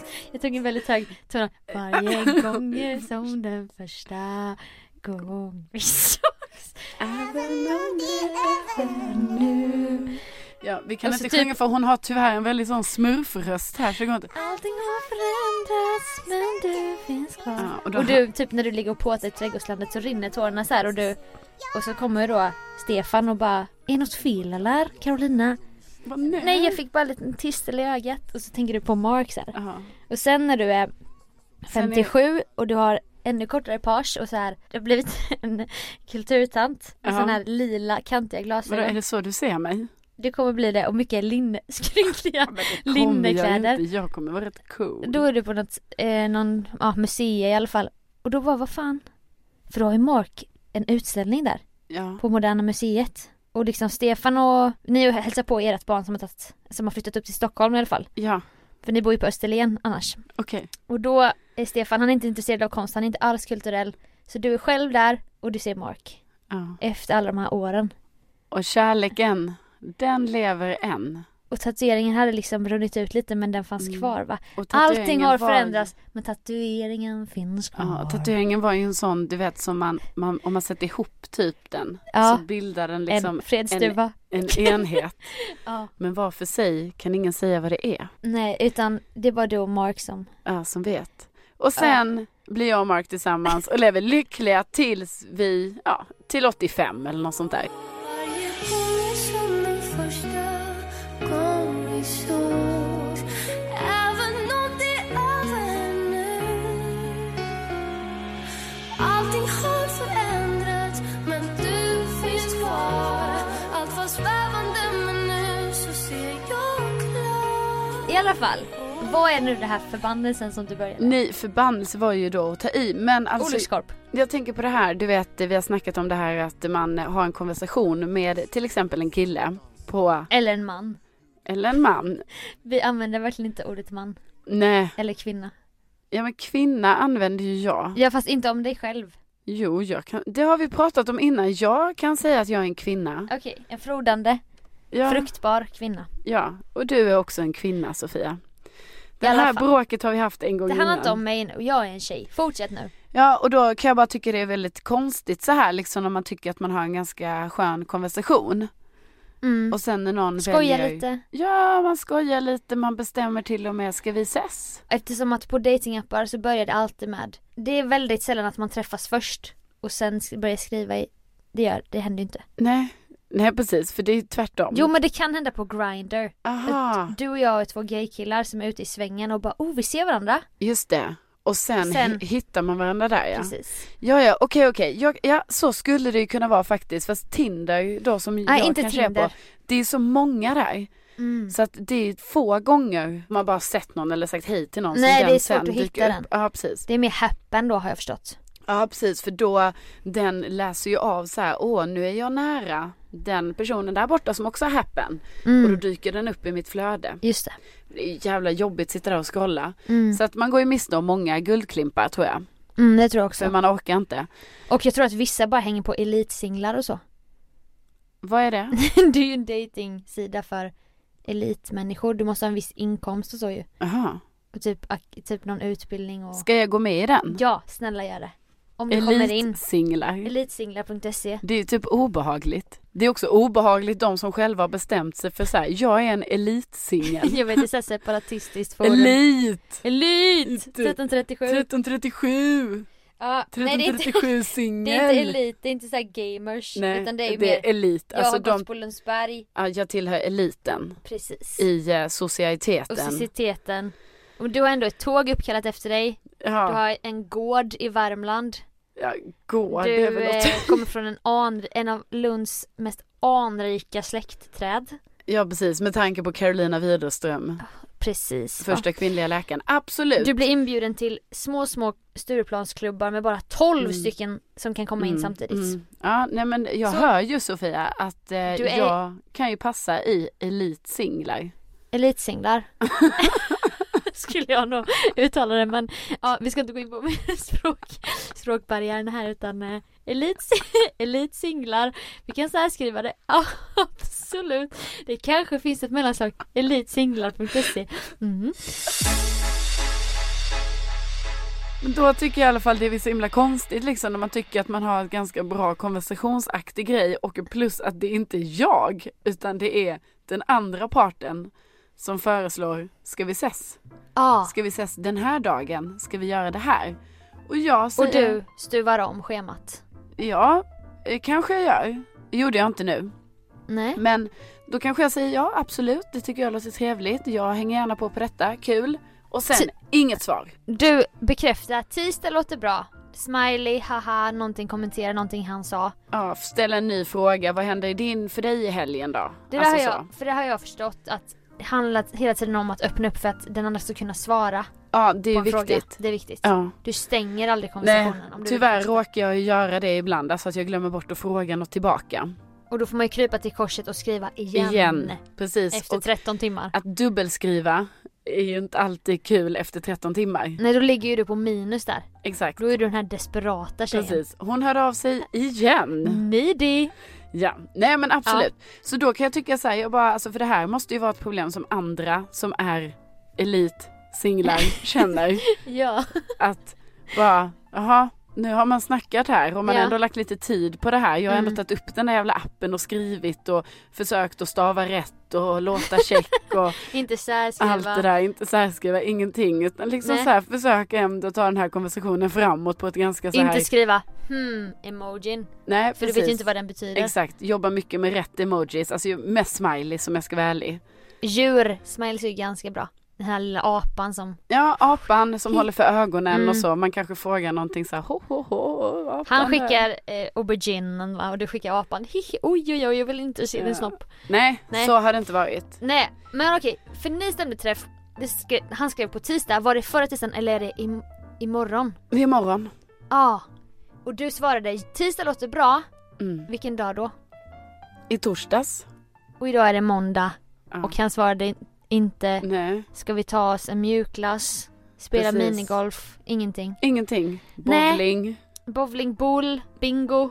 C: [laughs]
B: [laughs] Jag tog en väldigt hög ton. Varje gång är som den första gången vi sågs.
C: Ja, vi kan
B: Och så
C: inte
B: typ-
C: sjunga för hon har tyvärr en väldigt sån smurfröst här så det går inte.
B: Allting har förändrats men du finns kvar.
C: Ja, och då-
B: Och du, typ när du ligger och påtar i trädgårdslandet så rinner tårarna så här och du och så kommer då Stefan och bara Är något fel eller Carolina?
C: Bara, nej.
B: Nej jag fick bara en liten tistel i ögat och så tänker du på Mark så här.
C: Ja.
B: Och sen när du är
C: Sen är-
B: 57 och du har ännu kortare page och så här, du har blivit [laughs] en kulturtant med
C: Ja.
B: sån här lila kantiga
C: Vadå, är
B: glasögon.
C: det så du ser mig?
B: Du kommer bli det och mycket linne, [laughs] skrynkliga
C: Kommer jag,
B: linnekläder.
C: inte, jag kommer vara rätt cool.
B: Då är du på något, eh, någon, ja museum i alla fall. Och då var vad fan? För då har ju Mark en utställning där
C: Ja.
B: på Moderna Museet. Och liksom Stefan och, ni hälsar på ert barn som har, tagit, som har flyttat upp till Stockholm i alla fall.
C: Ja,
B: För ni bor ju på Österlen annars.
C: okej.
B: Och då är Stefan, han är inte intresserad av konst, han är inte alls kulturell. Så du är själv där och du ser Mark.
C: Ja.
B: Efter alla de här åren.
C: Och kärleken, den lever än.
B: Och tatueringen hade liksom runnit ut lite men den fanns kvar va?
C: Mm. Och tatueringen
B: Allting har
C: var-
B: förändrats men tatueringen finns kvar.
C: Ja, tatueringen var ju en sån, du vet, som man, man om man sätter ihop typ den,
B: Ja.
C: så bildar den liksom
B: en fredsduva.
C: en, en enhet.
B: [laughs] Ja.
C: Men var för sig kan ingen säga vad det är,
B: Nej, utan det är bara du och Mark som...
C: ja, som vet. Och sen blir jag och Mark tillsammans och lever lyckliga tills vi, ja, till 85 eller något sånt där.
D: Allting har förändrats men du finns kvar Allt var svävande men nu så ser jag klart
B: alla fall, vad är nu det här förbannelsen som du började med?
C: Nej, förbannelse var ju då att ta i. Men alltså,
B: Olyckskorp.
C: jag tänker på det här, du vet vi har snackat om det här att man har en konversation med till exempel en kille på,
B: Eller en man.
C: eller en man.
B: Vi använder verkligen inte ordet man.
C: Nej,
B: Eller kvinna.
C: ja men kvinna använder ju jag.
B: Ja fast inte om dig själv.
C: Jo, jag kan, det har vi pratat om innan. Jag kan säga att jag är en kvinna.
B: Okej, en frodande,
C: Ja,
B: fruktbar kvinna.
C: ja. och du är också en kvinna Sofia. Det
B: alla
C: här
B: fall.
C: bråket har vi haft en gång
B: Det
C: innan.
B: handlar inte om mig nu, och jag är en tjej. Fortsätt nu.
C: Ja och då kan jag bara tycka det är väldigt konstigt så här liksom när man tycker att man har en ganska skön konversation.
B: Mm.
C: Och sen när någon
B: Skoja
C: väljer...
B: lite.
C: Ja man skojar lite, man bestämmer till och med ska vi ses?
B: Eftersom att på datingappar så börjar det alltid med Det är väldigt sällan att man träffas först och sen sk- börjar skriva i Det gör, det händer ju inte.
C: Nej, nej precis för det är tvärtom.
B: Jo men det kan hända på Grindr.
C: Aha,
B: Du och jag är två gaykillar som är ute i svängen och bara oh vi ser varandra.
C: just det. Och sen,
B: Sen-
C: hi- hittar man varandra där ja.
B: Precis.
C: Ja ja, okej okej. Ja, ja, så skulle det ju kunna vara faktiskt. Fast Tinder då som
B: Nej
C: jag
B: inte
C: kanske är
B: Tinder.
C: på. Det är så många där.
B: Mm.
C: Så att det är få gånger man bara sett någon eller sagt hej till någon.
B: Nej,
C: som
B: det är
C: den
B: svårt
C: sen
B: att
C: dyker
B: hitta
C: upp.
B: den.
C: Ja precis.
B: Det är mer happen då har jag förstått.
C: Ja precis för då den läser ju av så här, åh nu är jag nära den personen där borta som också har happen.
B: Mm.
C: Och då dyker den upp i mitt flöde.
B: Just det.
C: Det är jävla jobbigt att sitta där och scrolla.
B: Mm.
C: Så att man går ju miste om många guldklimpar tror jag.
B: Mm, det tror jag
C: För
B: också.
C: man orkar inte.
B: Och jag tror att vissa bara hänger på elitsinglar och så. [laughs]
C: Vad är det?
B: det är ju en dejtingsida för elitmänniskor. Du måste ha en viss inkomst och så ju.
C: Aha.
B: Och typ, ak- typ någon utbildning och...
C: Ska jag gå med i den?
B: Ja, snälla gör det. Om du kommer in.
C: Elitsinglar.
B: Elitsinglar.se
C: Det är ju typ obehagligt. Det är också obehagligt de som själva har bestämt sig för så här, jag är en elitsingel.
B: [laughs] Jag vet, det är såhär separatistiskt forum.
C: Elit!
B: Elit!
C: Inte.
B: 1337.
C: 1337!
B: Ja, nej det är inte, [laughs]
C: 1337
B: det är inte
C: singel!
B: elit, det är inte såhär gamers.
C: Nej,
B: utan det är ju
C: det
B: mer,
C: är elit.
B: jag har
C: Alltså
B: gått
C: de,
B: på Lundsberg.
C: ja, jag tillhör eliten
B: Precis.
C: i eh, societeten.
B: Toxiciteten. Och du har ändå ett tåg uppkallat efter dig. Du
C: Ja,
B: har en gård i Värmland.
C: ja gå, det är
B: Du
C: väl
B: eh,
C: något.
B: kommer från en, an, en av Lunds mest anrika släktträd.
C: [laughs] Ja precis, med tanke på Carolina Widerström,
B: Precis. va?
C: första kvinnliga läkaren. Absolut!
B: Ah, Du blir inbjuden till små, små Stureplansklubbar med bara 12 stycken som kan komma in
C: Mm,
B: samtidigt.
C: mm. Ja, nej men jag
B: Så-
C: hör ju Sofia att eh,
B: är-
C: jag kan ju passa i elitsinglar.
B: Elitsinglar. [laughs] Skulle jag nog uttala det men ja, vi ska inte gå in på [laughs] språk, språkbarriären här utan eh, elits, [laughs] elitsinglar. Vi kan särskriva det. [laughs] Ja, absolut. Det kanske finns ett mellanslag. Elitsinglar.se. Mm.
C: Men Då tycker jag i alla fall det är så himla konstigt liksom när man tycker att man har ett ganska bra konversationsaktig grej och plus att det inte är jag utan det är den andra parten som föreslår ska vi ses?
B: Ja.
C: Ska vi ses den här dagen? Ska vi göra det här? Och jag
B: Och
C: säger
B: du stuvar om schemat.
C: ja, eh, kanske jag gör. Gjorde jag inte nu.
B: Nej.
C: Mm. Men då kanske jag säger ja, absolut, det tycker jag låter trevligt, jag hänger gärna på på detta, kul. Och sen
B: Ty-
C: inget svar.
B: Du bekräftar. Tisdag låter bra. Smiley, haha, någonting kommentera någonting han sa.
C: Ja, ställa en ny fråga, vad händer i din, för dig i helgen då? Alltså
B: Det där har jag, för det har jag förstått att det handlar hela tiden om att öppna upp för att den andra ska kunna svara
C: Så. Ja, det är
B: på
C: ju
B: en
C: viktigt.
B: fråga. Det är viktigt.
C: Ja.
B: Du stänger aldrig
C: Nej,
B: konversationen. om du
C: tyvärr
B: vill fortsätta.
C: råkar jag ju göra det ibland, alltså att jag glömmer bort att fråga något tillbaka.
B: Och då får man ju krypa till korset och skriva igen.
C: Igen. Precis.
B: Efter
C: och
B: 13 timmar.
C: att dubbelskriva är ju inte alltid kul efter 13 timmar.
B: Nej då ligger ju du på minus där.
C: Exakt.
B: Då är du den här desperata tjejen.
C: Precis. Hon hörde av sig igen.
B: Needy.
C: Ja, nej men absolut. Så då kan jag tycka så här, jag bara, alltså för det här måste ju vara ett problem som andra som är elit
B: [laughs]
C: singlar känner.
B: Ja.
C: Att bara, jaha, nu har man snackat här och man har
B: Ja. Mm.
C: ändå lagt lite tid på det här. Jag har ändå tagit upp den där jävla appen och skrivit och försökt att stava rätt och låta
B: [laughs]
C: check och
B: Inte särskriva.
C: allt det där. Inte särskriva ingenting utan liksom
B: Nej.
C: så här försöka ändå ta den här konversationen framåt på ett ganska så här.
B: Inte skriva hmm emojin.
C: nej,
B: För du vet ju inte vad den betyder.
C: Exakt, jobba mycket med rätt emojis, alltså ju mest smiley som jag ska vara ärlig.
B: Djur. Smiles är ju ganska bra. Den här lilla apan som
C: Ja, apan som håller för ögonen
B: Mm.
C: och så, man kanske frågar någonting så här, ho, ho, ho apan
B: Han
C: där."
B: skickar eh, auberginen va och du skickar apan. [laughs] Hihi, oj oj oj jag vill inte se
C: Ja.
B: din snopp.
C: Nej,
B: Nej.
C: så har det inte varit.
B: Nej men okej, för ni stämde träff. det skrev, han skrev på tisdag, var det förra tisdagen eller är det im, imorgon?
C: Det är imorgon.
B: Ja. Och du svarade tisdag låter bra,
C: Mm.
B: vilken dag då?
C: I torsdags.
B: Och idag är det måndag
C: Ja.
B: och han svarade in- inte
C: Nej,
B: Ska vi ta oss en mjukglass? Spela
C: Precis.
B: minigolf? Ingenting.
C: ingenting.
B: Nej.
C: Bowling.
B: Bowling, boule, bingo.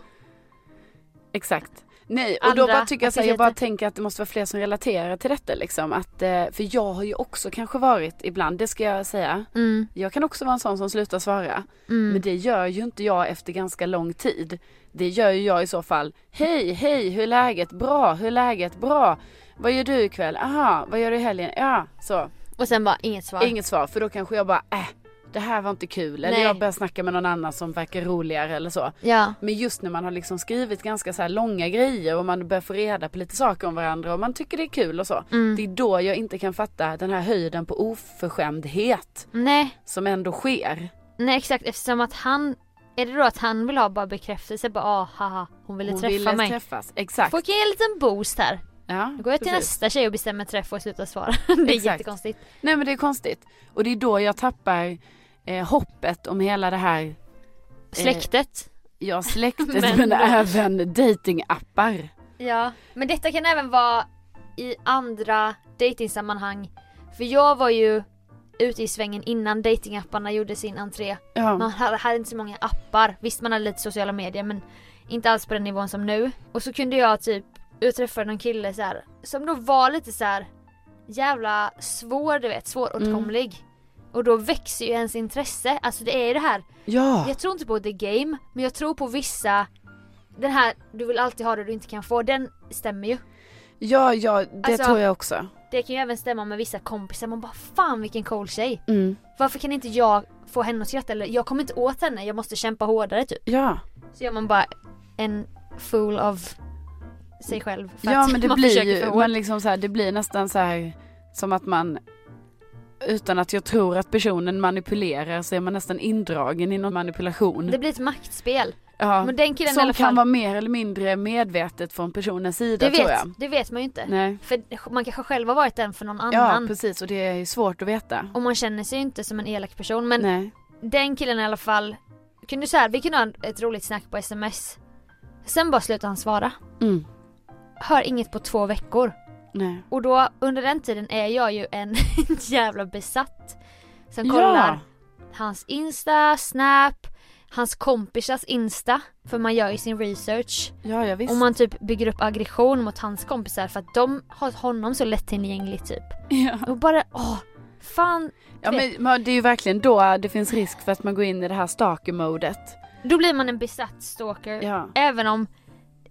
C: Exakt. Nej, och
B: Andra
C: då bara tycker jag så här, jag bara
B: aktiviteter.
C: tänker att det måste vara fler som relaterar till detta liksom. Att, eh, för jag har ju också kanske varit ibland, det ska jag säga.
B: Mm,
C: Jag kan också vara en sån som slutar svara.
B: mm.
C: Men det gör ju inte jag efter ganska lång tid. Det gör ju jag i så fall. Hej, hej, hur är läget? Bra, hur är läget? Bra. Vad gör du ikväll? Aha, vad gör du i helgen? Ja, så.
B: Och sen bara inget svar.
C: Inget svar, för då kanske jag bara, äh, det här var inte kul. Eller
B: Nej.
C: jag börjar snacka med någon annan som verkar roligare eller så.
B: Ja.
C: Men just när man har liksom skrivit ganska så här långa grejer och man börjar få reda på lite saker om varandra och man tycker det är kul och så.
B: Mm.
C: Det är då jag inte kan fatta den här höjden på oförskämdhet
B: Nej,
C: som ändå sker.
B: nej exakt eftersom att han är det då att han vill ha bara bekräftelse bara ah, haha hon ville
C: Hon
B: träffa
C: ville
B: mig.
C: träffas, exakt.
B: Får jag en liten boost här.
C: Ja,
B: Då går jag till
C: precis.
B: nästa tjej och bestämmer träff och slutar svara. [laughs] Det är
C: Exakt. Eh.
B: jättekonstigt.
C: Nej men det är konstigt. Och det är då jag tappar eh, hoppet om hela det här,
B: Släktet.
C: ja släktet
B: [laughs] Men
C: men,
B: då-
C: även datingappar.
B: Ja. Men detta kan även vara i andra datingsammanhang. För jag var ju ute i svängen innan datingapparna gjorde sin entré. Man
C: Ja.
B: hade, hade inte så många appar. Visst man hade lite sociala medier men inte alls på den nivån som nu. Och så kunde jag typ utträffa någon kille så här, som då var lite så här jävla svår du vet, svåråtkomlig. Och då växer ju ens intresse. Alltså det är ju det här,
C: ja.
B: jag tror inte på the game men jag tror på vissa den här, du vill alltid ha det du inte kan få, den stämmer ju.
C: Ja, ja, det
B: Alltså-
C: tror jag också.
B: Det kan ju även stämma med vissa kompisar, man bara fan vilken cool tjej.
C: Mm.
B: Varför kan inte jag få henne att skratta eller jag kommer inte åt henne, jag måste kämpa hårdare typ.
C: Ja.
B: Så gör man bara en fool av sig själv. För
C: Ja
B: att
C: men det
B: man
C: blir
B: försöker
C: ju,
B: få-
C: men liksom så här, det blir nästan så här som att man utan att jag tror att personen manipulerar så är man nästan indragen i någon manipulation.
B: Det blir ett maktspel.
C: ja.
B: Men den killen i
C: som
B: alla fall.
C: kan vara mer eller mindre medvetet från personens sida
B: det,
C: tror
B: vet,
C: jag.
B: det vet man ju inte.
C: Nej.
B: För man kanske själv har varit den för någon
C: Ja
B: annan.
C: precis och det är ju svårt att veta.
B: och man känner sig ju inte som en elak person. Men
C: Nej.
B: den killen i alla fall. Kunde så här, vi kunde ha ett roligt snack på sms. Sen bara slutade han svara.
C: Mm.
B: Hör inget på två veckor.
C: Nej.
B: Och då under den tiden är jag ju en [laughs] jävla besatt. Som kollar.
C: Ja.
B: hans Insta, Snap, hans kompisars Insta. För man gör ju sin research.
C: Ja, ja visst.
B: Och man typ bygger upp aggression mot hans kompisar för att de har honom så lättillgänglig typ.
C: [laughs] Ja.
B: Och bara åh, fan.
C: ja men, men det är ju verkligen då det finns risk för att man går in i det här stalker-modet.
B: Då blir man en besatt stalker.
C: Ja.
B: Även om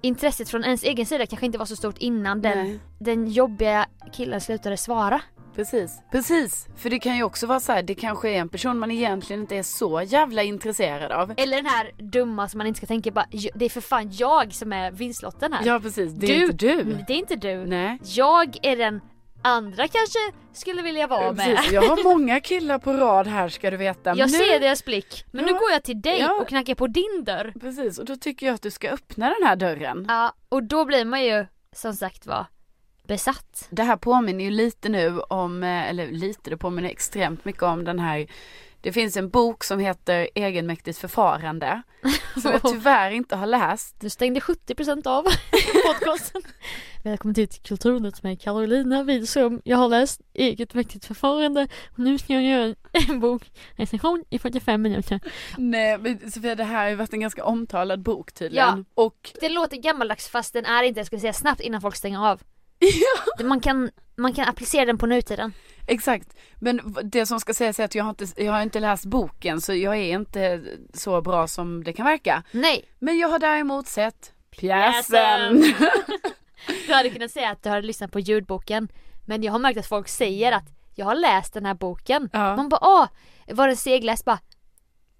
B: intresset från ens egen sida kanske inte var så stort innan den,
C: Nej.
B: den jobbiga killen slutade svara.
C: Precis. Precis. För det kan ju också vara så här, det kanske är en person man egentligen inte är så jävla intresserad av.
B: Eller den här dumma som man inte ska tänka bara, "J- det är för fan jag som är vinstlotten här.
C: Ja precis, det är inte du.
B: Det är inte du.
C: Nej.
B: Jag är den andra kanske skulle vilja vara med.
C: Precis, jag har många killar på rad här ska du veta.
B: Jag
C: nu...
B: ser deras blick. Men nu
C: Ja.
B: går jag till dig
C: Ja.
B: och knackar på din dörr.
C: Precis, och då tycker jag att du ska öppna den här dörren.
B: Ja, och då blir man ju som sagt var besatt.
C: Det här påminner ju lite nu om, eh, eller lite, det påminner extremt mycket om den här det finns en bok som heter Egenmäktigt förfarande som [laughs] jag tyvärr inte har läst.
B: Du stängde 70% [laughs] av podcasten. Välkommen till Kulturnytt med Carolina Widström. Jag har läst Eget mäktigt förfarande och nu ska jag göra en bokrecension i 45 minuter.
C: Nej men Sofia det här har ju varit en ganska omtalad bok tydligen. Ja. Och
B: Det låter gammaldags fast den är inte, jag skulle säga snabbt innan folk stänger [laughs] av. Man kan, man kan applicera den på nutiden.
C: Exakt, men v- det som ska sägas är att jag har, inte, jag har inte läst boken så jag är inte så bra som det kan verka.
B: Nej,
C: Men jag har däremot sett
B: Pjäsen.
C: pjäsen.
B: [laughs] Du hade kunnat säga att du hade lyssnat på ljudboken Men jag har märkt att folk säger att Jag har läst den här boken
C: Ja.
B: Man bara åh, var den segläst? Bara,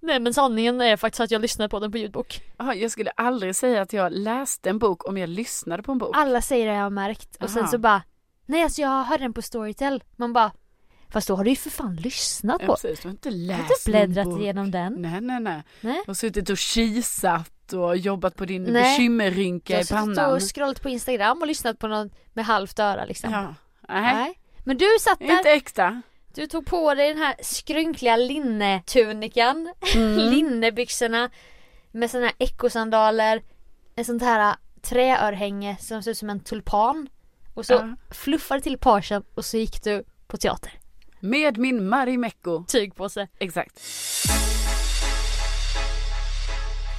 B: Nej men sanningen är faktiskt att jag lyssnade på den på ljudbok
C: [laughs] Jaha, jag skulle aldrig säga att jag läste en bok om jag lyssnade på en bok.
B: Alla säger det jag har märkt och sen
C: Aha.
B: så bara Nej alltså jag hörde den på Storytel Man bara Fast då har du ju för fan lyssnat
C: Ja,
B: på
C: precis, du har inte
B: den. Har
C: läst
B: du
C: någon
B: bläddrat
C: bok.
B: igenom den?
C: Nej, nej, nej.
B: Nej.
C: Du har suttit och kisat och jobbat på din
B: Nej. Jag
C: bekymmerrynka
B: har
C: i
B: suttit
C: pannan.
B: och scrollat på Instagram och lyssnat på någon med halvt öra liksom
C: Ja. Nej,
B: Nej. Men du satt där
C: inte äkta.
B: Du tog på dig den här skrynkliga linnetunikan, [laughs]
C: Mm.
B: linnebyxorna med såna här ekosandaler, en sånt här träörhänge som ser ut som en tulpan. Och så
C: Ja.
B: fluffade till pagen och så gick du på teater.
C: Med min Marimekko.
B: Tygpåse.
C: Exakt.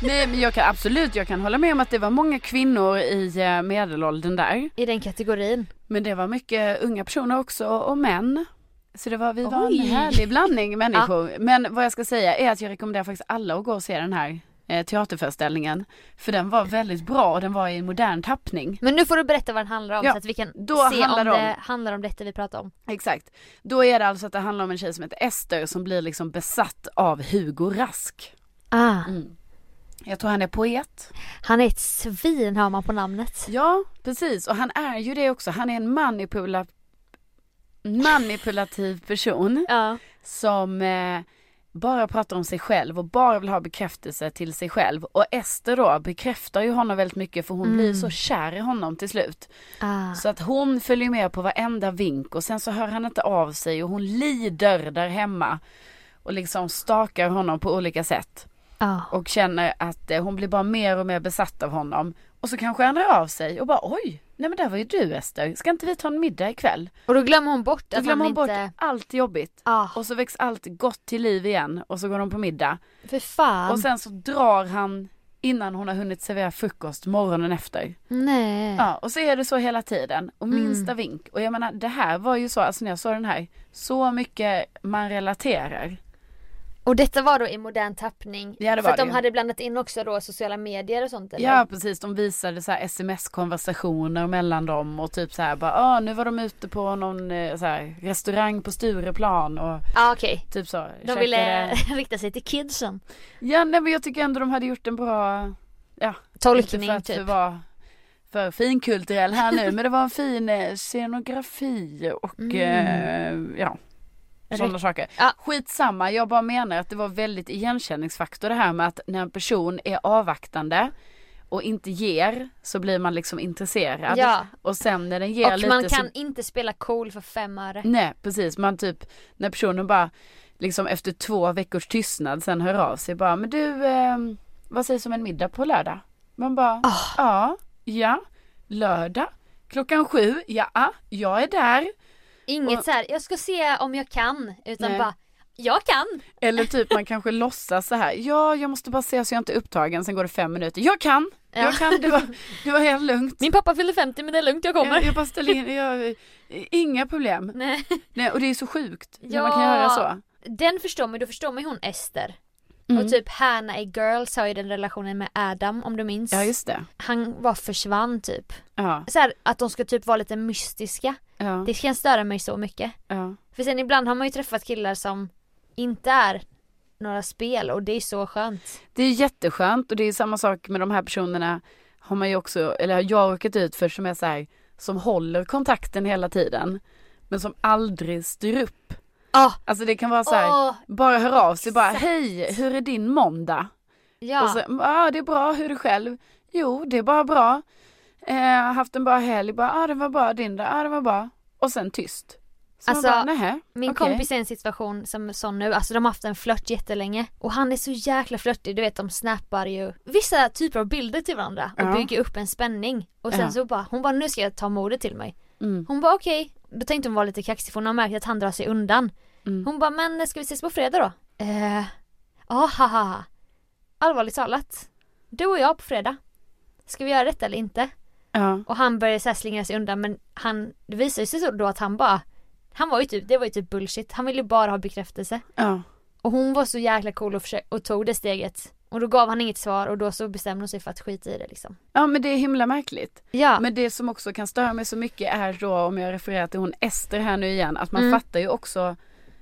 C: Nej men jag kan absolut, jag kan hålla med om att det var många kvinnor i eh, medelåldern där.
B: I den kategorin.
C: Men det var mycket unga personer också och män. Så det var, vi var
B: Oj.
C: en härlig [laughs] blandning människor. Men vad jag ska säga är att jag rekommenderar faktiskt alla att gå och se den här eh, teaterföreställningen. För den var väldigt bra och den var i modern tappning.
B: Men nu får du berätta vad den handlar om
C: Ja,
B: så att vi kan
C: då
B: se om
C: handlar det om-
B: det handlar om detta vi pratar om.
C: Exakt. Då är det alltså att det handlar om en tjej som heter Ester som blir liksom besatt av Hugo Rask.
B: Ah,
C: Mm. Jag tror han är poet.
B: han är ett svin hör man på namnet.
C: Ja, precis. Och han är ju det också. Han är en manipula... manipulativ person
B: Ja.
C: som eh, bara pratar om sig själv och bara vill ha bekräftelse till sig själv. Och Ester då bekräftar ju honom väldigt mycket för hon blir så kär i honom till slut.
B: Ah.
C: Så att hon följer med på varenda vink och sen så hör han inte av sig och hon lider där hemma. Och liksom stakar honom på olika sätt.
B: Ah.
C: Och känner att eh, hon blir bara mer och mer besatt av honom. Och så kanske han hör av sig och bara oj, nej men där var ju du Ester. Ska inte vi ta en middag ikväll?
B: Och då glömmer hon bort
C: Då
B: att
C: glömmer
B: han
C: hon Alltså, bort
B: inte...
C: allt jobbigt.
B: Ah.
C: Och så väcks allt gott till liv igen och så går de på middag.
B: För fan.
C: Och sen så drar han innan hon har hunnit servera frukost morgonen efter.
B: Eh. Nej.
C: Ja, och så är det så hela tiden. Och
B: Mm.
C: minsta vink. Och jag menar det här var ju så, alltså när jag såg den här, så mycket man relaterar.
B: Och detta var då i modern tappning.
C: Ja, det
B: för
C: var
B: att de
C: det.
B: hade blandat in också då sociala medier och sånt eller?
C: Ja precis, de visade så här sms-konversationer mellan dem och typ så här bara, ah, nu var de ute på någon eh, så här, restaurang på Stureplan och
B: Ja, okej.
C: typ så.
B: De ville [laughs]
C: eh,
B: rikta sig till kidsen.
C: Ja nej, men jag tycker ändå de hade gjort en bra, ja.
B: Tolkning,
C: inte för att
B: typ.
C: det var för finkulturell här nu men det var en fin eh, scenografi och eh, ja. Sådana saker.
B: Mm. Ja.
C: Skitsamma, jag bara menar att det var väldigt igenkänningsfaktor det här med att när en person är avvaktande och inte ger så blir man liksom intresserad.
B: Ja.
C: Och sen när den ger
B: Och
C: lite Mm.
B: man
C: så
B: kan inte spela cool för fem öre.
C: Nej precis, man typ när personen bara liksom efter två veckors tystnad sen hör av sig bara men du eh, vad sägs om en middag på lördag? Man bara
B: Ah.
C: ja, ja, lördag, klockan sju, ja, ah, jag är där.
B: Inget
C: Och-
B: så här, jag ska se om jag kan. Utan
C: Nej.
B: bara, jag kan.
C: Eller typ
B: [laughs]
C: man kanske låtsas så här, ja jag måste bara se så jag inte är upptagen, sen går det fem minuter, jag kan,
B: Ja.
C: jag kan,
B: [laughs]
C: det var, det var helt lugnt.
B: Min pappa fyller 50 men det är lugnt, jag
C: Jag, [laughs] jag bara ställer in, jag, inga problem.
B: Nej.
C: Nej, och det är så sjukt när
B: Ja.
C: man kan göra så. Mm.
B: Den förstår man, då förstår man ju hon Ester. Och typ Hanna i Girls har ju den relationen med Adam om du minns.
C: Ja just det.
B: Han var försvann typ.
C: Ja,
B: Så här, att de ska typ vara lite mystiska.
C: ja,
B: Det kan störa mig så mycket.
C: ja.
B: För sen ibland har man ju träffat killar som inte är några spel och det är så skönt.
C: Det är jätteskönt och det är samma sak med de här personerna har man ju också, eller har jag råkat ut för som är så här, som håller kontakten hela tiden men som aldrig styr upp.
B: Ah,
C: Alltså det kan vara så här,
B: Åh,
C: bara hör av sig bara
B: exakt.
C: hej, hur är din måndag?
B: ja.
C: Och så, ja det är bra, hur är det själv? Jo, det är bara bra. Eh, haft en bra helg, bara, ja ah, det var bra, din då, ja ah, det var bra. Och sen tyst. Så
B: Alltså,
C: man bara, nähä,
B: Min
C: okej."
B: kompis är i en situation som är sån nu, alltså de har haft en flört jättelänge och han är så jäkla flörtig, du vet de snappar ju vissa typer av bilder till varandra och
C: Ja.
B: bygger upp en spänning och sen
C: Ja.
B: så bara, hon bara nu ska jag ta modet till mig.
C: Mm.
B: Hon bara okej, då tänkte hon vara lite kaxig för hon har märkt att han drar sig undan.
C: Mm.
B: Hon bara men ska vi ses på fredag då? Eh, ja haha. Allvarligt talat, du och jag på fredag. Ska vi göra detta eller inte?
C: Ja,
B: Och han började så här slingra sig undan men han, det visade sig så då att han bara Han var ju typ, det var ju typ bullshit, han ville ju bara ha bekräftelse
C: ja.
B: Och hon var så jäkla cool och, försö- och tog det steget Och då gav han inget svar och då så bestämde hon sig för att skita i det liksom
C: ja, men det är himla märkligt.
B: Ja,
C: Men det som också kan störa mig så mycket är då om jag refererar till hon Ester här nu igen att man
B: Mm.
C: fattar ju också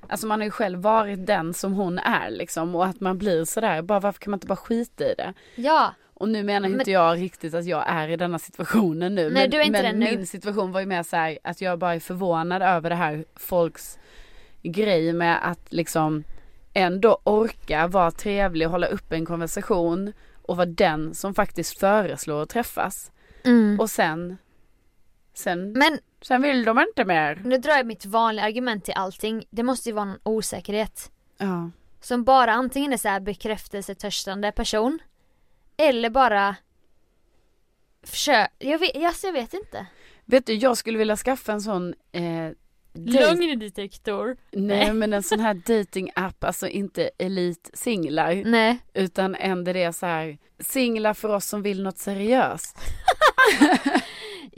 C: Alltså man har ju själv varit den som hon är liksom och att man blir sådär bara varför kan man inte bara skita i det?
B: ja,
C: Och nu menar
B: Men-
C: inte jag riktigt att jag är i denna situationen nu
B: Nej,
C: men,
B: du är inte
C: men
B: den nu.
C: min situation var ju mer såhär att jag bara är förvånad över det här folks grej med att liksom ändå orka vara trevlig och hålla upp en konversation och vara den som faktiskt föreslår att träffas.
B: mm.
C: Och sen, sen
B: Men
C: Sen vill de inte mer.
B: Nu drar jag mitt vanliga argument till allting. Det måste ju vara någon osäkerhet.
C: Ja.
B: Som bara antingen är så här bekräftelsetörstande person. Eller bara försök. Jag vet, alltså jag vet inte.
C: Vet du, jag skulle vilja skaffa en sån eh, dejt-
B: detektor.
C: Nej men en sån här dating app, alltså inte elit singlar
B: Nej.
C: utan ändå det är så här singlar för oss som vill något seriöst.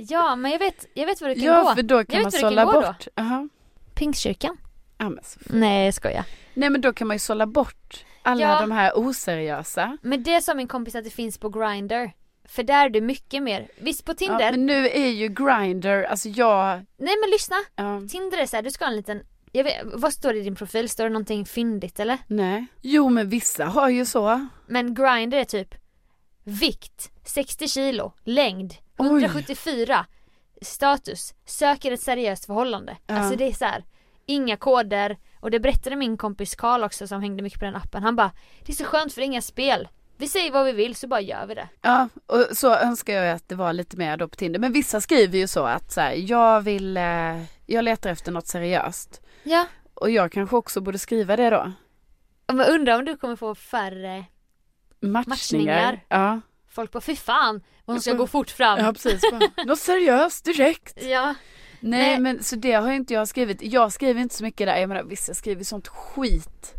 B: Ja men jag vet, jag vet var du kan
C: Ja
B: gå.
C: för då
B: Jag
C: kan
B: vet
C: man
B: hur det kan
C: sålla
B: gå då. Mm.
C: bort. Jaha.
B: Pingstkyrkan.
C: Ja, men så-
B: Nej jag skojar.
C: Nej men då kan man ju sålla bort alla
B: Ja.
C: de här oseriösa.
B: Men det sa min kompis att det finns på Grindr. För där är du mycket mer. Visst på
C: Ja,
B: Tinder.
C: men nu är ju Grindr, alltså jag,
B: Nej men lyssna.
C: ja,
B: Tinder är så här, du ska ha en liten jag vet, vad står det i din profil? Står det någonting fyndigt eller?
C: nej. Jo men vissa har ju så.
B: Men Grindr är typ vikt 60 kilo, längd
C: Oj.
B: 174, status, söker ett seriöst förhållande.
C: Ja.
B: Alltså det är så här, inga koder och det berättade min kompis Karl också som hängde mycket på den appen. Han bara, det är så skönt för det är inga spel. Vi säger vad vi vill så bara gör vi det.
C: Ja, och så önskar jag att det var lite mer då på Tinder. Men vissa skriver ju så att så här, jag vill, eh, jag letar efter något seriöst.
B: Ja.
C: Och jag kanske också borde skriva det då.
B: Men undrar om du kommer få färre
C: Matchningar.
B: Matchningar.
C: Ja.
B: folk på, fy fan, hon ska
C: Mm.
B: gå fort fram.
C: ja, precis. Bara, Något seriöst direkt.
B: [laughs] Ja.
C: Nej,
B: Nej.
C: men så det har ju inte jag skrivit. Jag skriver inte så mycket där. Jag menar vissa skriver sånt skit.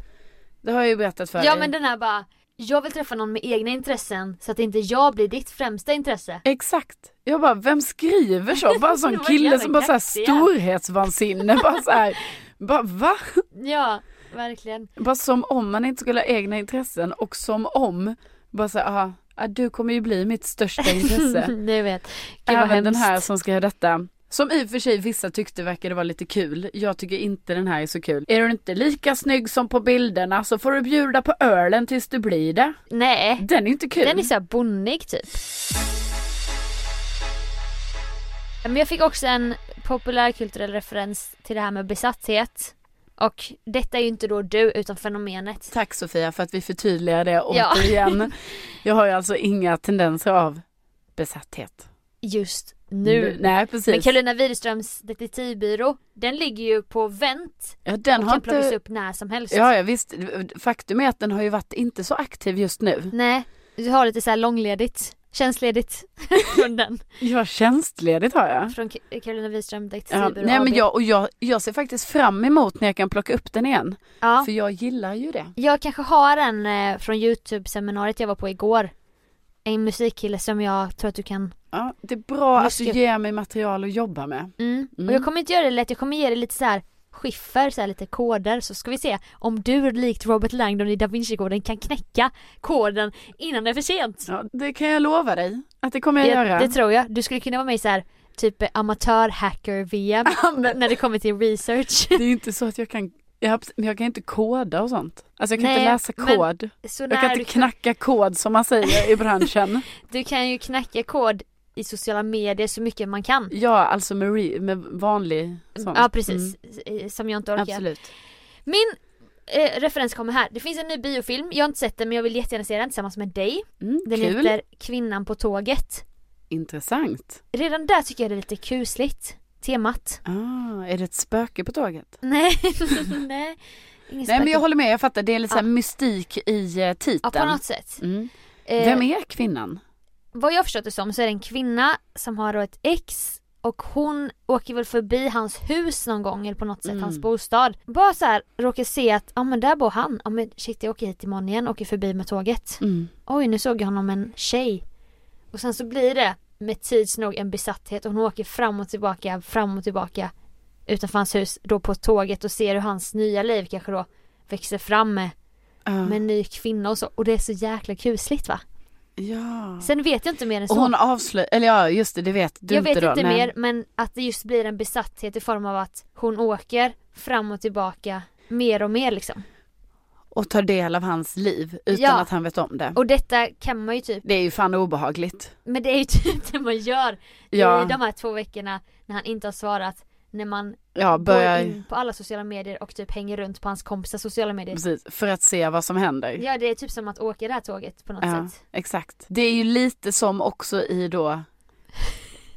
C: Det har jag ju berättat för
B: Ja
C: dig.
B: men den här bara, jag vill träffa någon med egna intressen så att inte jag blir ditt främsta intresse.
C: Exakt. Jag bara, vem skriver så? Bara en
B: De [laughs]
C: sån
B: var
C: kille
B: jävla
C: som bara såhär
B: kaxiga.
C: storhetsvansinne. Bara såhär, bara va?
B: Ja, verkligen.
C: Bara som om man inte skulle ha egna intressen och som om, bara så här, aha, ja, du kommer ju bli mitt största intresse.
B: [laughs] Du vet. Gud vad
C: Även
B: hemskt.
C: den här som ska göra detta. Som i och för sig vissa tyckte verkade vara lite kul. Jag tycker inte den här är så kul. Är du inte lika snygg som på bilderna så får du bjuda på ölen tills du blir det.
B: Nej,
C: Den är ju inte kul.
B: den är så här bonnig typ. Men jag fick också en populärkulturell referens till det här med besatthet. Och detta är ju inte då du utan fenomenet.
C: Tack Sofia för att vi förtydligar det
B: [laughs] Ja.
C: återigen. Jag har ju alltså inga tendenser av besatthet.
B: Just nu.
C: Nej precis.
B: Men Karolina Widerströms detektivbyrå, den ligger ju på vänt
C: ja, den
B: och
C: har
B: kan plockas
C: inte...
B: upp när som helst.
C: Ja, ja visst. Faktum är att den har ju varit inte så aktiv just nu.
B: Nej, du har lite så här långledigt, tjänstledigt [laughs] från den.
C: Ja, tjänstledigt har jag.
B: Från K- Karolina Widerström,
C: Ja,
B: Detektivbyrå
C: nej
B: AB.
C: men jag, och jag, jag ser faktiskt fram emot när jag kan plocka upp den igen.
B: ja.
C: För jag gillar ju det.
B: Jag kanske har en eh, från Youtube-seminariet jag var på igår. En musikkille som jag tror att du kan...
C: Ja, det är bra att du
B: Mycket.
C: ger mig material att jobba med.
B: Mm.
C: Mm.
B: Och jag kommer inte göra det lätt, jag kommer ge dig lite så här skiffer, så här lite koder så ska vi se om du likt Robert Langdon i Da Vinci-koden kan knäcka koden innan det är för sent.
C: Ja, det kan jag lova dig att det kommer jag,
B: Jag-
C: göra.
B: det tror jag. Du skulle kunna vara med i så här typ eh, amatör-hacker-VM
C: Ja, men-
B: när det kommer till research. [laughs]
C: Det är ju inte så att jag kan, jag, har abs- men jag kan inte koda och sånt. Alltså jag kan
B: Nej,
C: inte läsa
B: men
C: kod.
B: Så
C: Jag kan
B: när du,
C: inte knacka kod som man säger i branschen.
B: du kan ju knäcka kod i sociala medier så mycket man kan.
C: ja, alltså med, re, med vanlig sån.
B: Ja precis, Eh, som jag inte
C: Mm,
B: orkar.
C: absolut.
B: Min eh, referens kommer här. Det finns en ny biofilm, jag har inte sett den men jag vill jättegärna se den tillsammans med dig.
C: Mm,
B: Den
C: kul.
B: heter Kvinnan på tåget.
C: Intressant.
B: Redan där tycker jag det är lite kusligt, temat. [laughs]
C: Ah, är det ett spöke på tåget?
B: Nej, [laughs] nej. Ingen
C: Nej men jag
B: spöke.
C: håller med, jag fattar. Det är lite så här
B: Ja.
C: mystik i eh,
B: Ja
C: titeln.
B: på något sätt.
C: mm.
B: Eh,
C: Vem är kvinnan?
B: Vad jag har förstått det som så är det en kvinna som har då ett ex och hon åker väl förbi hans hus någon gång eller på något sätt
C: Mm.
B: hans bostad. Bara så här råkar se att ja men där bor han. Ja men shit jag åker hit imorgon igen, åker förbi med tåget.
C: Mm.
B: oj nu såg jag honom med en tjej. Och sen så blir det med tids nog en besatthet och hon åker fram och tillbaka, fram och tillbaka utanför hans hus då på tåget och ser hur hans nya liv kanske då växer fram med,
C: Ja.
B: med en ny kvinna och så. Och det är så jäkla kusligt va.
C: ja.
B: Sen vet jag inte mer än så.
C: Och hon avslöjar, eller ja just det, det vet du
B: jag vet
C: då.
B: inte
C: Nej.
B: mer men att det just blir en besatthet i form av att hon åker fram och tillbaka mer och mer liksom.
C: Och tar del av hans liv utan
B: Ja.
C: att han vet om det.
B: Och detta kan man ju typ,
C: Det är ju fan obehagligt.
B: men det är ju [laughs] typ det man gör i
C: Ja,
B: de här två veckorna när han inte har svarat. När man
C: ja
B: går
C: börjar,
B: in på alla sociala medier och typ hänger runt på hans kompisars sociala medier.
C: precis, för att se vad som händer.
B: Ja det är typ som att åka det här tåget på något
C: Ja,
B: sätt. [laughs]
C: exakt. Det är ju lite som också i då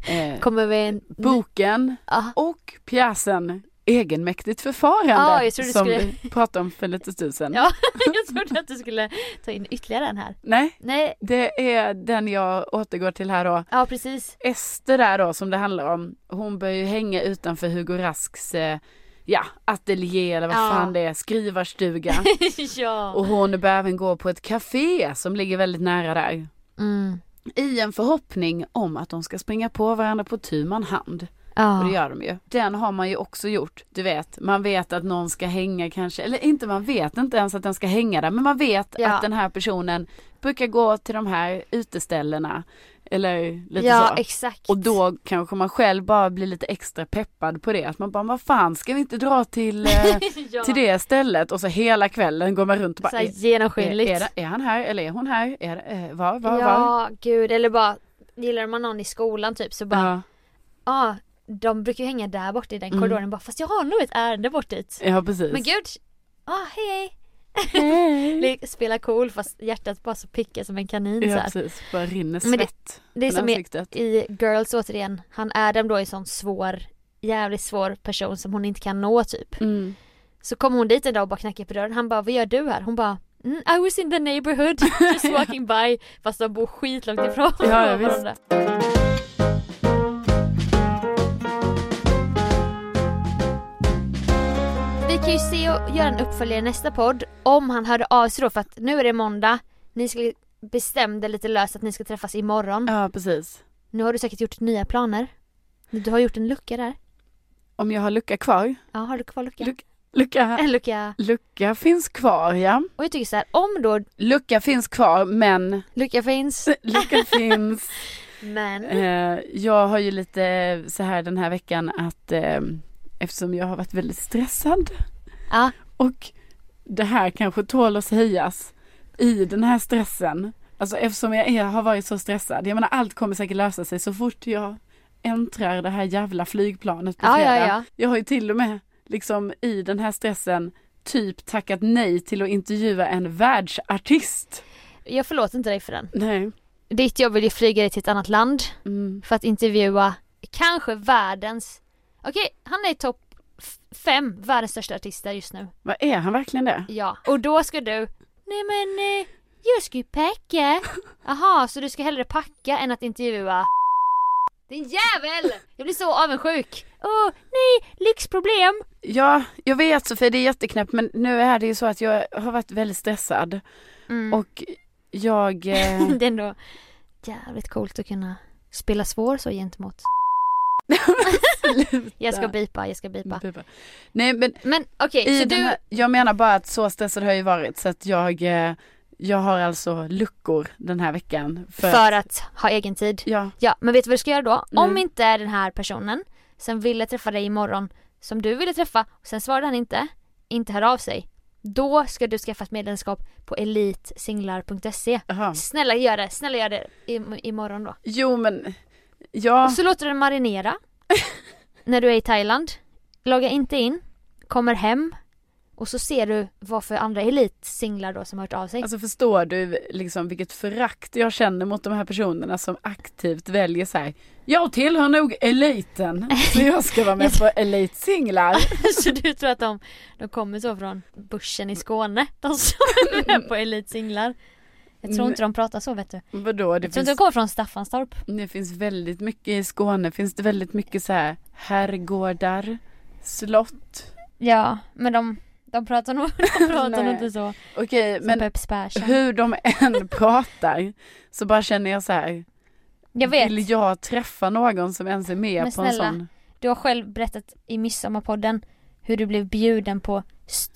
C: Eh,
B: Kommer vi en...
C: boken
B: Ja. [laughs]
C: och pjäsen Egenmäktigt förfarande
B: Ja, jag trodde du
C: som
B: skulle-
C: vi pratade om för lite stund sedan.
B: ja, jag trodde att du skulle ta in ytterligare en här.
C: Nej,
B: Nej,
C: det är den jag återgår till här då.
B: ja
C: [laughs]
B: precis.
C: Ester där då som det handlar om, hon börjar ju hänga utanför Hugo Rasks eh, ja, ateljé eller vad
B: Ja.
C: fan det
B: [laughs]
C: är, skrivarstuga.
B: ja.
C: Och hon börjar även gå på ett café som ligger väldigt nära där.
B: Mm.
C: I en förhoppning om att de ska springa på varandra på tu man hand. Och
B: Ja.
C: det gör de ju. Den har man ju också gjort. Du vet, man vet att någon ska hänga kanske, eller inte man vet inte ens att den ska hänga där. Men man vet
B: Ja.
C: att den här personen brukar gå till de här uteställena. Eller lite
B: ja,
C: så.
B: exakt.
C: Och då kanske man själv bara blir lite extra peppad på det. Att man bara, vad fan ska vi inte dra till, eh,
B: [laughs] [laughs] Ja.
C: till det stället? Och så hela kvällen går man runt och
B: Så
C: bara,
B: här
C: är, är,
B: genomskinligt.
C: är, det- är han här eller är hon här? Är, det- eh, var, var, var?
B: Ja, gud. Eller bara, gillar man någon i skolan typ så bara, ja,
C: Ja,
B: ah, de brukar ju hänga där borta i den korridoren bara, fast jag har nog ett ärende bort dit.
C: ja precis.
B: Men
C: [laughs]
B: gud, ah, hej hej. Spela cool fast hjärtat bara så pickar som en kanin så
C: Ja
B: här.
C: precis, bara rinner
B: Men det-
C: svett
B: Det är
C: från
B: som i,
C: ansiktet.
B: i Girls återigen, han Adam då är en sån svår, jävligt svår person som hon inte kan nå typ.
C: Mm.
B: Så kommer hon dit en dag och bara knackar på dörren, han bara vad gör du här? Hon bara mm, I was in the neighborhood, [laughs] just walking by. Fast de bor skitlångt ifrån
C: Ja, ja, visst.
B: varandra. Vi kan ju se och göra en uppföljare i nästa podd om han hörde av sig då för att nu är det måndag. Ni skulle bestämde lite löst att ni ska träffas imorgon.
C: Ja precis.
B: Nu har du säkert gjort nya planer. Du har gjort en lucka där.
C: Om jag har lucka kvar?
B: Ja, har du kvar lucka?
C: Luc- Lucka,
B: En lucka.
C: lucka finns kvar ja.
B: Och jag tycker så här, om då
C: Lucka finns
B: [laughs]
C: kvar men
B: lucka finns,
C: lucka finns.
B: men...
C: Eh, jag har ju lite så här den här veckan att eh, eftersom jag har varit väldigt stressad
B: Ja,
C: och det här kanske tål att sägas i den här stressen. Alltså eftersom jag är, har varit så stressad. Jag menar allt kommer säkert lösa sig så fort jag äntrar det här jävla flygplanet på
B: Ja, ja,
C: fredag.
B: ja.
C: Jag har ju till och med liksom i den här stressen typ tackat nej till att intervjua en världsartist.
B: jag förlåter inte dig för den.
C: Nej.
B: Ditt jobb vill ju flyga dig till ett annat land
C: Mm.
B: för att intervjua kanske världens... Okej, han är topp f- fem världens största artister just nu.
C: Vad är han verkligen det?
B: Ja, och då ska du... Nej men, eh, jag ska ju packa. Jaha, så du ska hellre packa än att intervjua Din jävel! Jag blir så avundsjuk. Åh, nej, lyxproblem.
C: Ja, jag vet Sofie, det är jätteknäppt men nu är det ju så att jag har varit väldigt stressad
B: Mm.
C: och jag...
B: [laughs]
C: Eh...
B: Det är ändå jävligt coolt att kunna spela svår så gentemot. Jag ska bipa, jag ska bipa.
C: Pipa. [laughs] Nej men,
B: Men okej,
C: i
B: så
C: den
B: du...
C: här, jag menar bara att så stressad har jag ju varit så att jag, eh, jag har alltså luckor den här veckan. För,
B: För att ha egen tid.
C: Ja,
B: Ja, men vet du vad du ska göra då?
C: Nej.
B: Om inte den här personen som ville träffa dig imorgon, som du ville träffa, och sen svarade han inte, inte hör av sig. Då ska du skaffa ett medlemskap på elitsinglar.se.
C: aha.
B: Snälla gör det, snälla gör det im- imorgon då.
C: Jo men, ja.
B: Och så låter du den
C: [laughs]
B: marinera. när du är i Thailand. Logga inte in. Kommer hem. Och så ser du vad för andra elitsinglar då som har hört av sig.
C: Alltså förstår du liksom vilket förakt jag känner mot de här personerna som aktivt väljer så här. Jag tillhör nog eliten så jag
B: [laughs]
C: ska vara med på elitsinglar.
B: så du tror att de, de kommer så från börsen i Skåne? De [laughs] som är med på elitsinglar. Jag tror inte de pratar så vet du.
C: Vadå?
B: Jag
C: Det
B: tror
C: finns
B: inte de kommer från Staffanstorp.
C: Det finns väldigt mycket i Skåne, finns det väldigt mycket så här herrgårdar, slott.
B: Ja, men de, de pratar nog de pratar nog
C: Nej.
B: inte så.
C: Okej,
B: Men
C: men
B: Peps Persson.
C: hur de
B: [laughs]
C: än pratar så bara känner jag så här,
B: Jag vet,
C: vill jag träffa någon som ens är med
B: Men
C: på en
B: snälla.
C: sån?
B: du har själv berättat i Midsommarpodden hur du blev bjuden på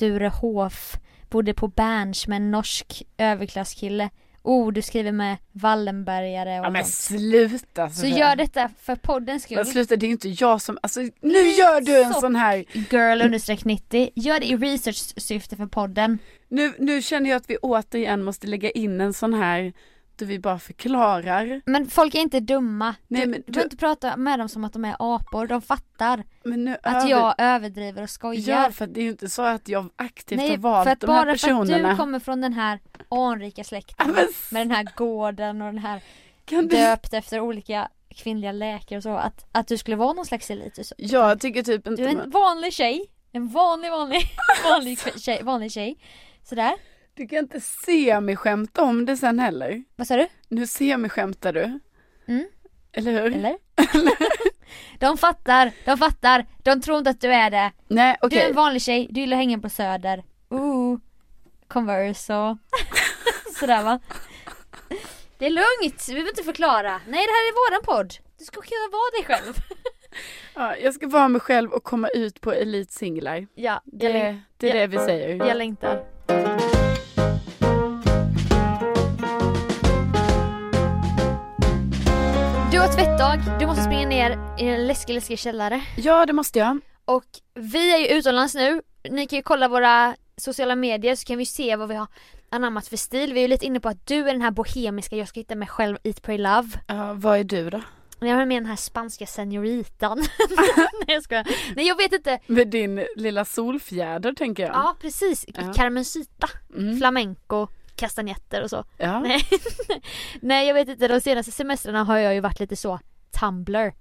B: Sturehof, bodde på Berns med en norsk överklasskille. Oh, du skriver med Wallenbergare och
C: Ja men
B: sånt.
C: sluta
B: Alltså. Så
C: Sofia.
B: gör detta för poddens skull.
C: Men sluta, det är ju inte jag som, alltså nu gör du en
B: Sock.
C: sån här,
B: Girl understreck 90. Gör det i research-syfte för podden.
C: nu, nu känner jag att vi återigen måste lägga in en sån här, då vi bara förklarar.
B: Men folk är inte dumma.
C: Nej,
B: du,
C: men
B: du
C: du-
B: behöver inte prata med dem som att de är apor. De fattar
C: Men nu
B: att
C: över-
B: jag överdriver och
C: Ja
B: skojar.
C: för det är ju inte så att jag aktivt
B: Nej,
C: har valt
B: för att
C: de här
B: bara för att
C: personerna.
B: du kommer från den här anrika släkten
C: Ja, men [laughs]
B: med den här gården och den här
C: Kan du,
B: döpt efter olika
E: kvinnliga läkare och så, att, att du skulle vara någon slags elit. och Så.
C: Jag tycker typ
E: Du är
C: inte
E: en
C: man,
E: vanlig tjej, en vanlig
B: [laughs]
E: vanlig, vanlig kv- tjej, vanlig tjej. Sådär.
C: Du kan inte se mig skämta om det sen heller.
E: Vad sa du?
C: Nu ser mig skämtar du.
E: Mm.
C: Eller hur?
E: Eller? de fattar, de fattar, de tror inte att du är det.
C: Nej
E: Du är
C: okej.
E: en vanlig tjej, du gillar att hänga på Söder. Ooh, Converse
B: [laughs]
E: och sådär va.
B: Det är lugnt, vi behöver inte förklara. Nej det här är våran podd. Du ska kunna vara dig själv.
C: Ja, jag ska vara mig själv och komma ut på elitsinglar.
B: Ja, jag, läng-
C: Det, det är det vi säger.
B: jag längtar. Du har tvättdag, du måste springa ner i en läskig läskig källare.
C: Ja det måste jag.
B: Och vi är ju utomlands nu. Ni kan ju kolla våra sociala medier så kan vi se vad vi har anammat för stil. Vi är ju lite inne på att du är den här bohemiska, jag ska hitta mig själv, Eat, Pray, Love.
C: Ja, vad är du då?
B: Men Jag har med den här spanska senoritan. [laughs] Nej jag skojar. Nej jag vet inte.
C: Med din lilla solfjäder tänker jag.
B: Ja precis,
C: Ja.
B: Carmencita,
C: Mm.
B: flamenco, kastanjetter och så.
C: Ja.
B: Nej. [laughs] Nej jag vet inte, de senaste semestrarna har jag ju varit lite så Tumblr.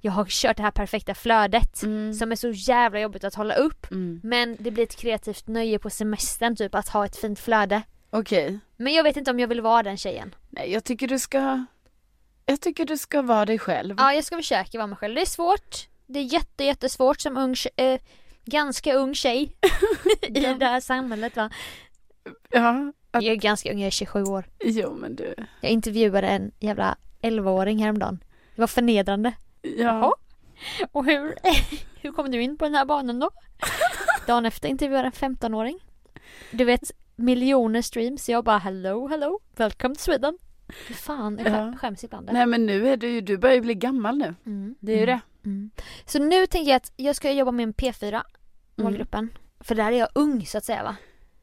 B: Jag har kört det här perfekta flödet
C: Mm.
B: som är så jävla jobbigt att hålla upp.
C: Mm.
B: Men det blir ett kreativt nöje på semestern typ att ha ett fint flöde.
C: Okej.
B: Men jag vet inte om jag vill vara den tjejen.
C: Nej jag tycker du ska Jag tycker du ska vara dig själv.
B: Ja, jag ska försöka vara mig själv. Det är svårt. Det är jätte, jättesvårt som ung tje- eh, ganska ung tjej i det här samhället va.
C: Ja. Att,
B: Jag är ganska ung, jag är 27 år.
C: jo men du.
B: Jag intervjuade en jävla 11-åring häromdagen. Det var förnedrande.
C: Ja.
B: Och hur, [laughs] hur kom du in på den här banan då? Dagen efter intervjuade jag en 15-åring. Du vet, miljoner streams. Jag bara hello, hello, welcome to Sweden. Fy fan, jag skä-
C: Ja.
B: skäms ibland.
C: Nej men nu är du ju, du börjar ju bli gammal nu.
B: Mm.
C: Det är ju det.
B: Mm. Så nu tänker jag att jag ska jobba med en P4,
C: Mm.
B: målgruppen. För där är jag ung så att säga va?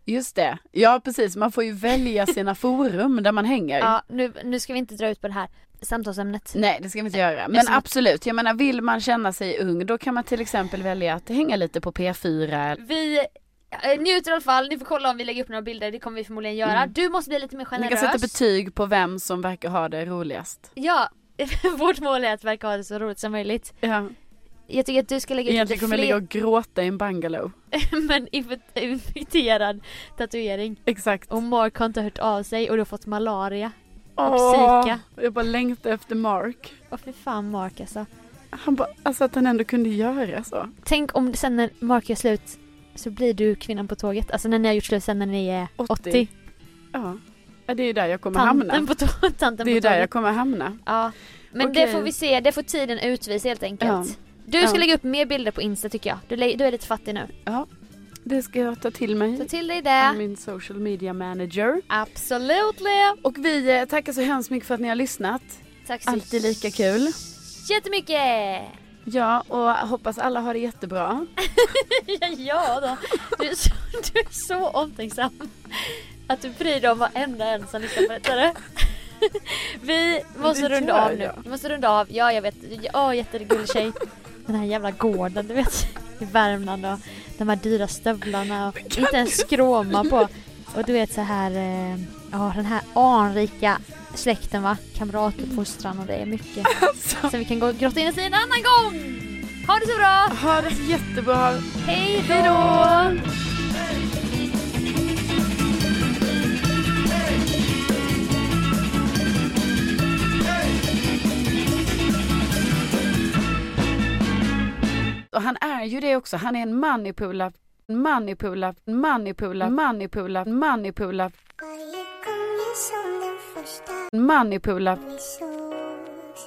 C: Just det. Ja precis, man får
B: [laughs]
C: ju välja sina forum där man hänger.
B: Ja, nu, nu ska vi inte dra ut på det här samtalsämnet.
C: Nej det ska vi inte göra. Men
B: Eftersom-
C: absolut, jag menar vill man känna sig ung då kan man till exempel välja att hänga lite på P4.
B: Vi eh, njuter i alla fall, ni får kolla om vi lägger upp några bilder, det kommer vi förmodligen göra. Du måste bli lite mer
C: Man Mm. kan sätta
B: generös.
C: betyg på vem som verkar ha det roligast.
B: Ja, [laughs] vårt mål är att verka ha det så roligt som möjligt.
C: Ja.
B: Jag tycker att du ska lägga ut lite
C: Egentligen kommer jag ligga
B: fler,
C: och gråta i en bungalow.
B: [laughs] men inf- infekterad tatuering.
C: Exakt.
B: Och Mark har inte hört av sig och du har fått malaria.
C: Åh,
B: psyka.
C: Jag bara längtar efter Mark.
B: Åh fy fan Mark alltså.
C: Han bara, alltså att han ändå kunde göra så.
B: Tänk om sen när Mark gör slut så blir du kvinnan på tåget. Alltså när ni har gjort slut sen när ni är 80.
C: 80. Ja. ja det är ju där jag kommer
B: Tanten
C: hamna.
B: på, tå- [laughs] tanten
C: Det är
B: på
C: ju där
B: tåget.
C: jag kommer hamna.
B: Ja. Men det
C: Okej.
B: får vi se, det får tiden utvisa helt
C: Ja.
B: enkelt. Du ska
C: Ja.
B: lägga upp mer bilder på Insta tycker jag. Du, lä- du är lite fattig nu.
C: Det ska jag ta till
B: Ta
C: mig.
B: till dig
C: av
B: det.
C: Min social media manager.
B: Absolutely.
C: Och vi eh, tackar så hemskt mycket för att ni har lyssnat.
B: Tack så
C: Alltid lika kul.
B: jättemycket.
C: Ja, och hoppas alla har det jättebra.
B: [laughs] ja då. Du är, så, du är så omtänksam. Att du bryr dig om varenda en som lyssnar på detta. du. Vi måste
C: det
B: runda
C: gör
B: av nu.
C: jag.
B: Vi måste runda av. Ja, jag vet. Ja, jättegullig tjej. Den här jävla gården, du vet. I Värmland och de här dyra stövlarna och inte ens skråma på. Och du vet så här, eh, ja den här anrika släkten va. Kamratuppfostran och det är mycket. Så vi kan gå och grotta in oss i en annan gång! Ha det så bra!
C: Ha det så jättebra.
B: Hej då!
C: Och han är ju det också. Han är en manipula, manipula, manipula, manipula, manipula,
D: Varje gång jag som den första
C: manipula,
D: vi sågs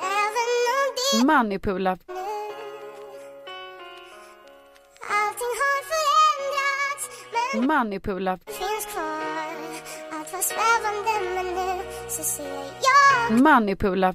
D: Även om det
C: manipula.
D: nu Allting har förändrats Men
C: Manipula,
D: finns kvar Allt var svävande men nu så ser jag
C: manipula,